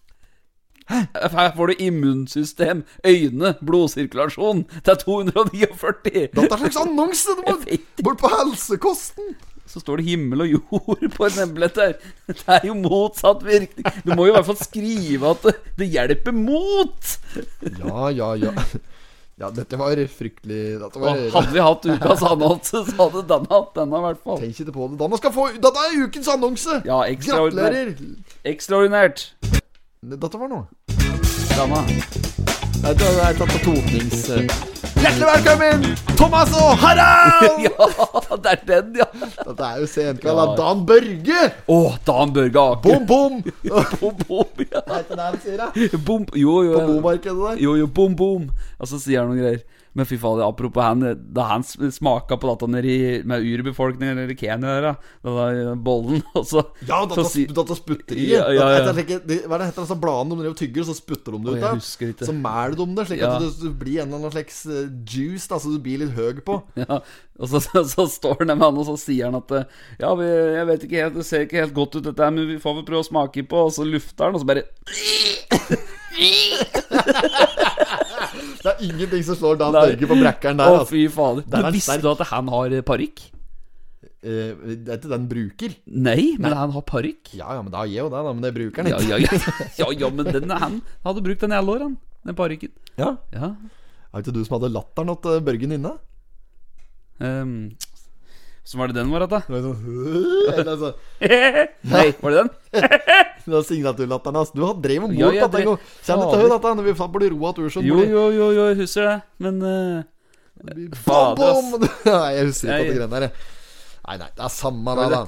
[SPEAKER 1] Her får du immunsystem, øyne, blodsirkulasjon. Det er 249.
[SPEAKER 10] Dette er en slags annonse! Du må
[SPEAKER 1] Jeg vet.
[SPEAKER 10] bort på helsekosten!
[SPEAKER 1] Så står det himmel og jord på en emblett her. Det er jo motsatt virkning. Du må jo i hvert fall skrive at det, det hjelper mot.
[SPEAKER 10] Ja, ja, ja. Ja, dette var fryktelig Dette var
[SPEAKER 1] Og hadde vi hatt ukas annonse, så hadde denne hatt denne, i hvert fall.
[SPEAKER 10] Tenk ikke på det. Danna skal få Dette er ukens annonse!
[SPEAKER 1] Ja, ekstraordinært.
[SPEAKER 10] Gratulerer!
[SPEAKER 1] Ekstraordinært.
[SPEAKER 10] Dette var noe.
[SPEAKER 1] Denne.
[SPEAKER 10] Nei, det er tatt på totnings... Hjertelig velkommen, Thomas og Harald!
[SPEAKER 1] Ja, det er den, ja.
[SPEAKER 10] Dette er jo senkveld av
[SPEAKER 1] Ja.
[SPEAKER 10] Dan Børge!
[SPEAKER 1] Å, Dan Børge Aker.
[SPEAKER 10] Bom, bom! Hva
[SPEAKER 1] Bom, bom, ja.
[SPEAKER 10] heter det han sier, da?
[SPEAKER 1] Bom, jo, jo.
[SPEAKER 10] På bomarkedet der?
[SPEAKER 1] Jo, jo, boom, boom. Og så sier han noen greier. Men fy fader, apropos han Da han smaka på dette nede i- med urbefolkningen nede i Kenya der, da, den der bollen, og så
[SPEAKER 10] Ja,
[SPEAKER 1] så
[SPEAKER 10] data,
[SPEAKER 1] sier-
[SPEAKER 10] data sputter i.
[SPEAKER 1] Ja, ja, ja.
[SPEAKER 10] Dette er slik- de- Hva er det heter disse bladene de driver og tygger, og så sputter de
[SPEAKER 1] Å,
[SPEAKER 10] det ut?
[SPEAKER 1] jeg
[SPEAKER 10] da.
[SPEAKER 1] husker ikke.
[SPEAKER 10] Så mæler de det, slik
[SPEAKER 1] Ja.
[SPEAKER 10] at du, du blir en eller annen slags eh, juice da, så du blir litt høy på.
[SPEAKER 1] ja, Og så, så, så står han der med han, og så sier han at eh, Ja, vi, jeg vet ikke helt, det ser ikke helt godt ut dette her, men vi får vel prøve å smake på, og så lufter han, og så bare
[SPEAKER 10] Det er ingenting som slår Dan
[SPEAKER 1] Nei.
[SPEAKER 10] Børge på brekkeren
[SPEAKER 1] Å,
[SPEAKER 10] der. Altså.
[SPEAKER 1] fy fader.
[SPEAKER 10] er
[SPEAKER 1] Du
[SPEAKER 10] han
[SPEAKER 1] visste
[SPEAKER 10] sterk.
[SPEAKER 1] du at han har eh, parykk?
[SPEAKER 10] eh, Det er ikke den bruker.
[SPEAKER 1] Nei, men han har parykk.
[SPEAKER 10] Ja, ja, men da gir jo det, da. Men det bruker han
[SPEAKER 1] Ja,
[SPEAKER 10] ikke.
[SPEAKER 1] ja, ja, ja, ja, men den er han. Han hadde brukt den i alle år, han. Den parykken.
[SPEAKER 10] Ja.
[SPEAKER 1] Ja.
[SPEAKER 10] Er det ikke du som hadde latteren til eh, Børgen inne?
[SPEAKER 1] Um, så var det den var, da?
[SPEAKER 10] Det var sånn, eller altså,
[SPEAKER 1] Nei, var det den?
[SPEAKER 10] det var signaturlatteren hans. altså. Du har drevet
[SPEAKER 1] Ja,
[SPEAKER 10] mot
[SPEAKER 1] jeg
[SPEAKER 10] dette en gang. Kjenn etter
[SPEAKER 1] Fader.
[SPEAKER 10] høyt dette, når vi faen blir roa til Ursund.
[SPEAKER 1] Jo, jo, jo, jo, jeg husker det. Men eh,
[SPEAKER 10] Fader,
[SPEAKER 1] Fader, ass.
[SPEAKER 10] Nei, jeg husker
[SPEAKER 1] Nei.
[SPEAKER 10] ikke at det greiene der. jeg. Nei, nei, det er samme det, da.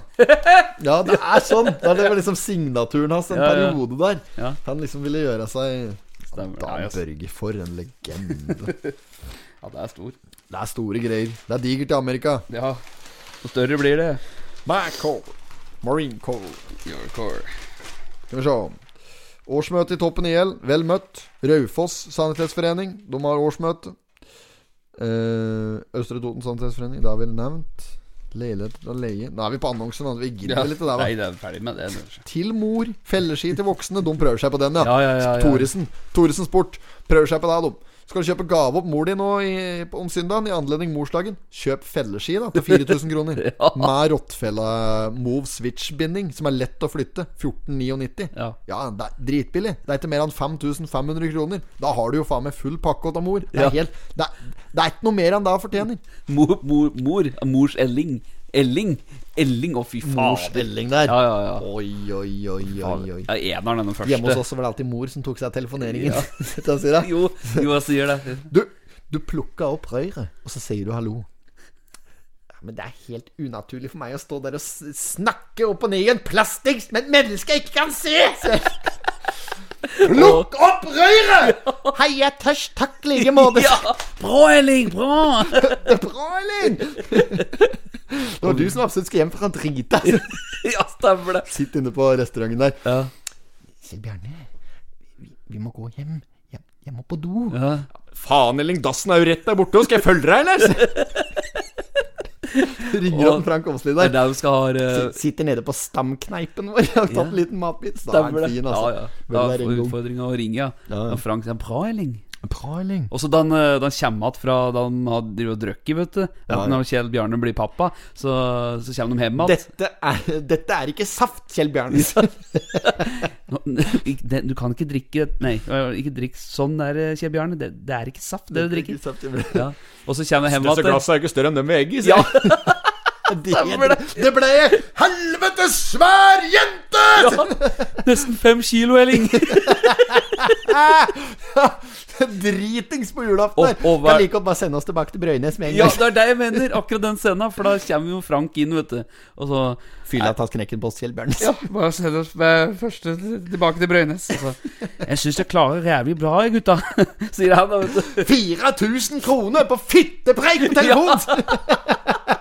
[SPEAKER 10] Ja, det er sånn. Det er det var liksom signaturen hans, en
[SPEAKER 1] Ja, ja.
[SPEAKER 10] periode der.
[SPEAKER 1] Ja.
[SPEAKER 10] Han liksom ville gjøre seg
[SPEAKER 1] Stemmer.
[SPEAKER 10] Dan
[SPEAKER 1] Nei, ass.
[SPEAKER 10] Børge, for en legende.
[SPEAKER 1] ja, det er stor.
[SPEAKER 10] Det er store greier. Det er digert i Amerika.
[SPEAKER 1] Ja. Og større blir det.
[SPEAKER 10] Macol. Marine Corps.
[SPEAKER 1] Your core.
[SPEAKER 10] Skal vi se. Årsmøte i Toppen IL. Vel møtt. Raufoss sanitetsforening. De har årsmøte. Eh, Østre Toten sanitetsforening. Det har vi nevnt. Leilighet til å leie. Nå er vi på annonsen. da. Vi gidder
[SPEAKER 1] Ja.
[SPEAKER 10] vel ikke det.
[SPEAKER 1] Nei,
[SPEAKER 10] va?
[SPEAKER 1] det er ferdig med det. det er-
[SPEAKER 10] Til mor. Felleski til voksne. De prøver seg på den, ja.
[SPEAKER 1] Ja, ja, ja, ja.
[SPEAKER 10] Thoresen. Thoresen Sport. Prøver seg på deg, de. Skal du kjøpe gave opp mor di nå i, om søndagen i anledning morsdagen? Kjøp felleski da til 4000 kroner. Med rottfella Move Switch-binding, som er lett å flytte. 1499.
[SPEAKER 1] Ja.
[SPEAKER 10] Ja, det er dritbillig. Det er ikke mer enn 5500 kroner. Da har du jo faen meg full pakke av mor. Det er,
[SPEAKER 1] Ja.
[SPEAKER 10] helt, det, er, det er ikke noe mer enn det jeg fortjener.
[SPEAKER 1] Mor, mor, mor. Mors Elling. Elling. Elling, å fy fader.
[SPEAKER 10] elling der.
[SPEAKER 1] Ja, ja, ja.
[SPEAKER 10] Oi, oi, oi, oi, oi.
[SPEAKER 1] Ja, eneren er den første.
[SPEAKER 10] Hjemme hos oss var det alltid mor som tok seg av telefoneringen. Vet du hva jeg sier da?
[SPEAKER 1] Jo, jo, jeg sier det.
[SPEAKER 10] Du, du plukker opp røret, og så sier du hallo. Ja, men det er helt unaturlig for meg å stå der og s- snakke opp og ned i en plastikk som et menneske jeg ikke kan se! sier jeg. Plukk opp røret! Hei, jeg er tørst. Takk i like måte.
[SPEAKER 1] Ja! Bra, Elling! Bra!
[SPEAKER 10] Bra, Elin! Det var du som absolutt skal hjem fra drita.
[SPEAKER 1] Ja, stemmer det.
[SPEAKER 10] Sitt inne på restauranten der.
[SPEAKER 1] Ja.
[SPEAKER 10] Kjell Bjarne, vi, vi må gå hjem. Jeg, jeg må på do.
[SPEAKER 1] Ja.
[SPEAKER 3] Faen, Elling, dassen er jo rett der borte. Skal jeg følge deg, eller?
[SPEAKER 10] Ringer han Frank Åsli
[SPEAKER 1] Det er
[SPEAKER 10] der.
[SPEAKER 1] der vi skal ha eh,
[SPEAKER 10] S- Sitter nede på stamkneipen vår. Jeg har tatt
[SPEAKER 1] Ja.
[SPEAKER 10] en liten matbit. Da er
[SPEAKER 1] Stemmer
[SPEAKER 10] han
[SPEAKER 1] det.
[SPEAKER 10] fin,
[SPEAKER 1] Ja,
[SPEAKER 10] altså.
[SPEAKER 1] ja. Da
[SPEAKER 10] Vel, det er
[SPEAKER 1] får
[SPEAKER 10] en
[SPEAKER 1] vi
[SPEAKER 10] god-
[SPEAKER 1] utfordringa å ringe, ja.
[SPEAKER 10] Ja, ja.
[SPEAKER 1] Og Frank sier 'bra, Elling'.
[SPEAKER 10] Bra, Elling.
[SPEAKER 1] Og så da han, eh, da han kommer igjen fra da han har drevet og drukket, vet du
[SPEAKER 10] Ja.
[SPEAKER 1] At Når Kjell Bjarne blir pappa, så, så kommer de hjem igjen.
[SPEAKER 10] Dette er, dette er ikke saft, Kjell Bjarne.
[SPEAKER 1] Nå- ikke- det- Du kan ikke drikke Nei, øh, ikke drikk sånn der, Kjell Bjarne. Det, det er ikke saft, det du drikker.
[SPEAKER 10] Saft, Kjell Bjarne.
[SPEAKER 1] Ja. Og så kommer de hjem
[SPEAKER 3] Disse
[SPEAKER 1] igjen.
[SPEAKER 3] glassene er jo ikke større enn dem med egg i. sier
[SPEAKER 1] Ja,
[SPEAKER 3] jeg.
[SPEAKER 10] Det, det ble helvete svær jente!
[SPEAKER 1] nesten fem kilo, Elling!
[SPEAKER 10] Dritings på julaften.
[SPEAKER 1] Og- og hva-
[SPEAKER 10] kan like godt bare sende oss tilbake til Brøynes med en
[SPEAKER 1] Ja,
[SPEAKER 10] gang.
[SPEAKER 1] det er det jeg mener. Akkurat den scenen. For da kommer jo Frank inn, vet du. Og så
[SPEAKER 10] Fylla tas knekken på oss, Kjell Bjarne.
[SPEAKER 1] Bare send oss første tilbake til Brøynes. Altså, Jeg syns jeg klarer jævlig bra, jeg, gutta. Sier han, da, vet du.
[SPEAKER 10] 4000 kroner på fittepreik på telefon!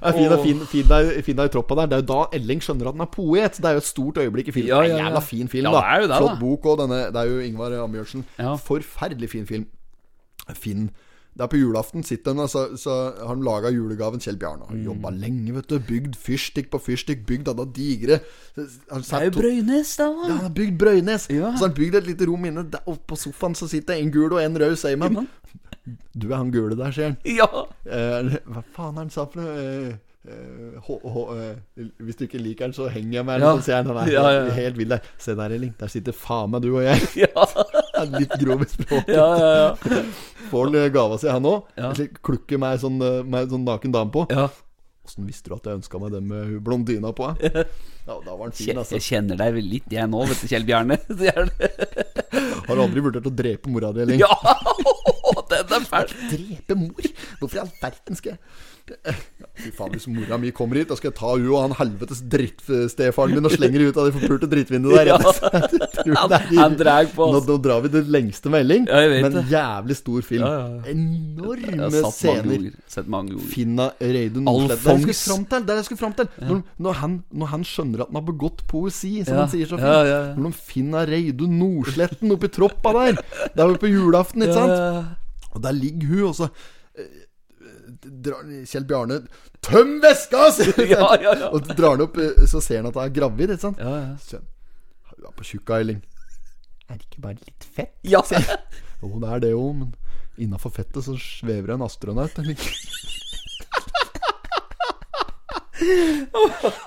[SPEAKER 10] Ja, fin,
[SPEAKER 1] Åh.
[SPEAKER 10] fin, fin, deg, fin deg i troppa der. Det er jo da Elling skjønner at han er poet. Det er jo et stort øyeblikk i filmen.
[SPEAKER 1] Ja,
[SPEAKER 10] Det
[SPEAKER 1] ja,
[SPEAKER 10] er en
[SPEAKER 1] ja.
[SPEAKER 10] Jævla fin film,
[SPEAKER 1] Ja,
[SPEAKER 10] da.
[SPEAKER 1] det er jo det, da.
[SPEAKER 10] Flott bok òg, denne. Det er jo Ingvar Ambjørnsen.
[SPEAKER 1] Ja.
[SPEAKER 10] Forferdelig fin film. Fin. Det er på julaften. Sitter han, så, så har han laga julegaven Kjell Bjarne.
[SPEAKER 1] Mm.
[SPEAKER 10] Har jobba lenge, vet du. Bygd fyrstikk på fyrstikk. Bygd alle digre Han
[SPEAKER 1] Det er
[SPEAKER 10] satt
[SPEAKER 1] jo Brøynes, da.
[SPEAKER 10] ja, han har bygd Brøynes.
[SPEAKER 1] Ja.
[SPEAKER 10] Så har han bygd et lite rom inne. Der oppe på sofaen så sitter en gul og en rød, sier man. Du er han gule der, sier han.
[SPEAKER 1] Ja.
[SPEAKER 10] Eh, hva faen er han sa for noe? Eh, eh, hå- hå- eh, hvis du ikke liker han, så henger jeg med han.
[SPEAKER 1] Ja.
[SPEAKER 10] Så sier han, han er
[SPEAKER 1] Ja, ja, ja.
[SPEAKER 10] helt vill der. Se der, Elling. Der sitter faen meg du og jeg.
[SPEAKER 1] Ja,
[SPEAKER 10] Han er Litt grov i språket.
[SPEAKER 1] ja, ja. ja.
[SPEAKER 10] Får han eh, gava si, han òg?
[SPEAKER 1] Ja.
[SPEAKER 10] Klukker meg sånn, eh, med en sånn naken dame på.
[SPEAKER 1] ja.
[SPEAKER 10] Åssen visste du at jeg ønska meg den med hun blondina på? eh? Ja, da var han fin, altså.
[SPEAKER 1] Jeg kjenner deg vel litt, jeg nå, vet du, Kjell Bjarne. Det er det.
[SPEAKER 10] Har du aldri vurdert å drepe mora di, Elling?
[SPEAKER 1] Ja, den er fæl.
[SPEAKER 10] Drepe mor? Hvorfor i all verden skal jeg ja, Fy faen, hvis mora mi kommer hit, da skal jeg ta hun og han helvetes drittstefaren min og slenge hun ut av det forpulte drittvinduet der.
[SPEAKER 1] Ja.
[SPEAKER 10] Tror du
[SPEAKER 1] Han-
[SPEAKER 10] det er-
[SPEAKER 1] han drar på altså.
[SPEAKER 10] nå,
[SPEAKER 1] oss.
[SPEAKER 10] nå drar vi det lengste melding,
[SPEAKER 1] Ja, jeg vet
[SPEAKER 10] men
[SPEAKER 1] det.
[SPEAKER 10] jævlig stor film.
[SPEAKER 1] Ja, ja, ja. Jeg
[SPEAKER 10] Enorme
[SPEAKER 1] har satt mange
[SPEAKER 10] scener.
[SPEAKER 1] ganger. Sett mange ganger.
[SPEAKER 10] Finna Reidun Nordslepp.
[SPEAKER 1] Alfons.
[SPEAKER 10] Der jeg skulle fram til, der jeg skulle fram til. Når, når, han, når han skjønner at han har begått poesi, som
[SPEAKER 1] Ja.
[SPEAKER 10] han sier så fint.
[SPEAKER 1] Ja, ja, ja.
[SPEAKER 10] Når de finner Reidun Nordsletten oppi troppa der. Det er jo på julaften, ikke sant? Og der ligger hun, og så eh, drar Kjell Bjarne 'Tøm veska!' sier
[SPEAKER 1] Ja,
[SPEAKER 10] han.
[SPEAKER 1] ja, ja.
[SPEAKER 10] Og drar han opp, eh, så ser han at hun er gravid. Ikke sant?
[SPEAKER 1] Ja, ja.
[SPEAKER 10] Så sier han, Hun er på tjukka, Elling. Er det ikke bare litt fett?
[SPEAKER 1] Ja,
[SPEAKER 10] Jo, det er det jo, men innafor fettet så svever en astronaut. Elling.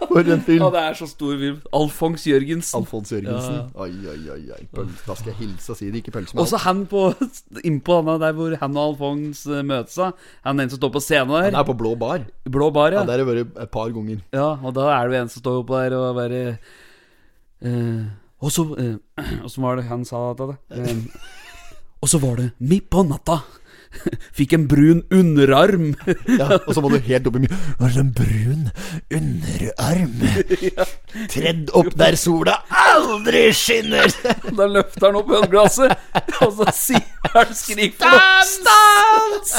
[SPEAKER 10] For en film.
[SPEAKER 1] Ja, det er så stor film. Alfons Jørgensen.
[SPEAKER 10] Alfons Jørgensen.
[SPEAKER 1] Ja,
[SPEAKER 10] Oi, oi, oi. oi. Pøl- Da skal jeg hilse og si det. Ikke
[SPEAKER 1] ja.
[SPEAKER 10] pølse med
[SPEAKER 1] Også
[SPEAKER 10] alt.
[SPEAKER 1] han på innpå han der hvor han og Alfons eh, møtes. da. Han er en som står på scenen
[SPEAKER 10] Han
[SPEAKER 1] der.
[SPEAKER 10] er på blå bar.
[SPEAKER 1] Blå bar,
[SPEAKER 10] Ja,
[SPEAKER 1] ja.
[SPEAKER 10] det har jeg vært et par ganger.
[SPEAKER 1] ja. Og da er det jo en som står oppå der og bare eh, Og så eh, Og så var det han sa dette, da. Eh, og så var det midt på natta. Fikk en brun underarm.
[SPEAKER 10] Ja, og så må du helt opp i mye Var det en brun underarm? Tredd opp der sola aldri skinner!
[SPEAKER 1] Da løfter han opp ølglasset, og så sier han skrik for noe. Stans!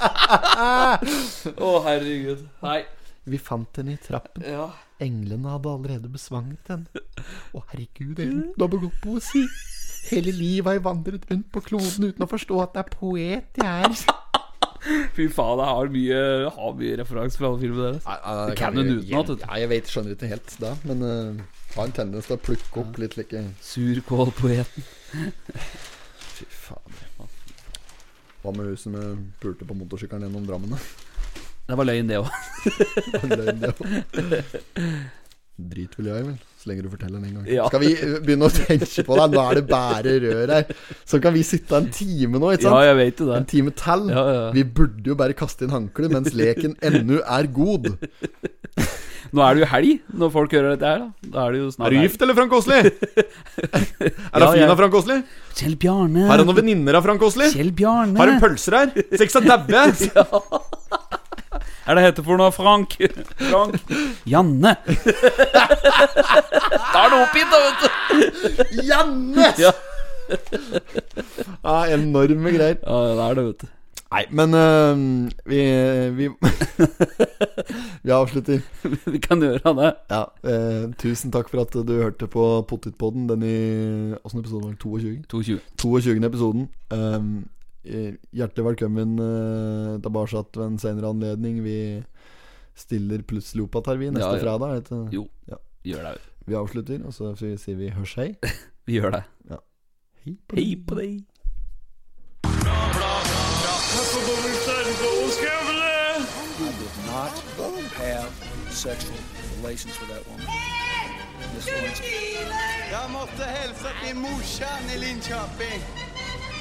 [SPEAKER 1] Å, herregud. Nei.
[SPEAKER 10] Vi fant henne i trappen.
[SPEAKER 1] Ja.
[SPEAKER 10] Englene hadde allerede besvanget henne. Å, herregud, Ellen, du har begått poesi. Hele livet har jeg vandret rundt på kloden uten å forstå at det er poet jeg er.
[SPEAKER 1] Fy faen, jeg har mye, jeg har mye referanse fra alle filmene deres.
[SPEAKER 10] Nei,
[SPEAKER 1] Det kan hun utenat, vet du.
[SPEAKER 10] Ja, jeg vet, skjønner ikke helt da, men eh, har en tendens til å plukke opp litt like
[SPEAKER 1] Surkålpoeten.
[SPEAKER 10] Fy faen. Hva med hun som eh, pulte på motorsykkelen gjennom Drammen, da?
[SPEAKER 1] Det var løgn, det òg.
[SPEAKER 10] Løgn, det var. Drit vil jeg, vel. Så lenge du forteller den en gang.
[SPEAKER 1] Ja.
[SPEAKER 10] Skal vi eh, begynne å tenke på det? Nå er det bare rør her. Så kan vi sitte en time nå, ikke
[SPEAKER 1] Ja,
[SPEAKER 10] sant?
[SPEAKER 1] jeg vet jo det.
[SPEAKER 10] En time til.
[SPEAKER 1] Ja, ja.
[SPEAKER 10] Vi burde jo bare kaste inn håndkle mens leken ennå er god.
[SPEAKER 1] Nå er det jo helg, når folk hører dette her. da Da er det jo snart
[SPEAKER 3] Er du gift, eller, Frank Åsli? Er
[SPEAKER 1] Ja,
[SPEAKER 3] du fin
[SPEAKER 1] jeg-
[SPEAKER 3] av Frank Åsli?
[SPEAKER 1] helg. Kjell Bjarne.
[SPEAKER 3] Har du noen venninner av Frank Åsli?
[SPEAKER 1] Kjell Bjarne.
[SPEAKER 3] Har du pølser her? Seks av daue?
[SPEAKER 1] Er det hette for noe Frank? Frank. Janne. Da er det oppgitt, da, vet du.
[SPEAKER 10] Janne!
[SPEAKER 1] Ja.
[SPEAKER 10] Ja, enorme greier.
[SPEAKER 1] Ja, det er det, vet du.
[SPEAKER 10] Nei, men øh, vi, vi Vi avslutter.
[SPEAKER 1] Vi kan gjøre det.
[SPEAKER 10] Ja, eh, tusen takk for at du hørte på Pottitpodden. Den i Åssen episode var det? 22?
[SPEAKER 1] 22.
[SPEAKER 10] 22. episoden. Ehm, eh, hjertelig velkommen eh, tilbake ved en senere anledning. Vi stiller plutselig opp igjen, her, vi, neste
[SPEAKER 1] Ja, ja.
[SPEAKER 10] fredag. er det ikke?
[SPEAKER 1] Jo.
[SPEAKER 10] Ja.
[SPEAKER 1] Gjør det.
[SPEAKER 10] Vi avslutter, og så f- sier vi hørs hei.
[SPEAKER 1] Vi gjør det.
[SPEAKER 10] Hei på
[SPEAKER 1] Hei på deg.
[SPEAKER 4] You did not have sexual relations with that woman. Miss Lewinsky.
[SPEAKER 5] Jag måste hälsa till morsan i Linköping.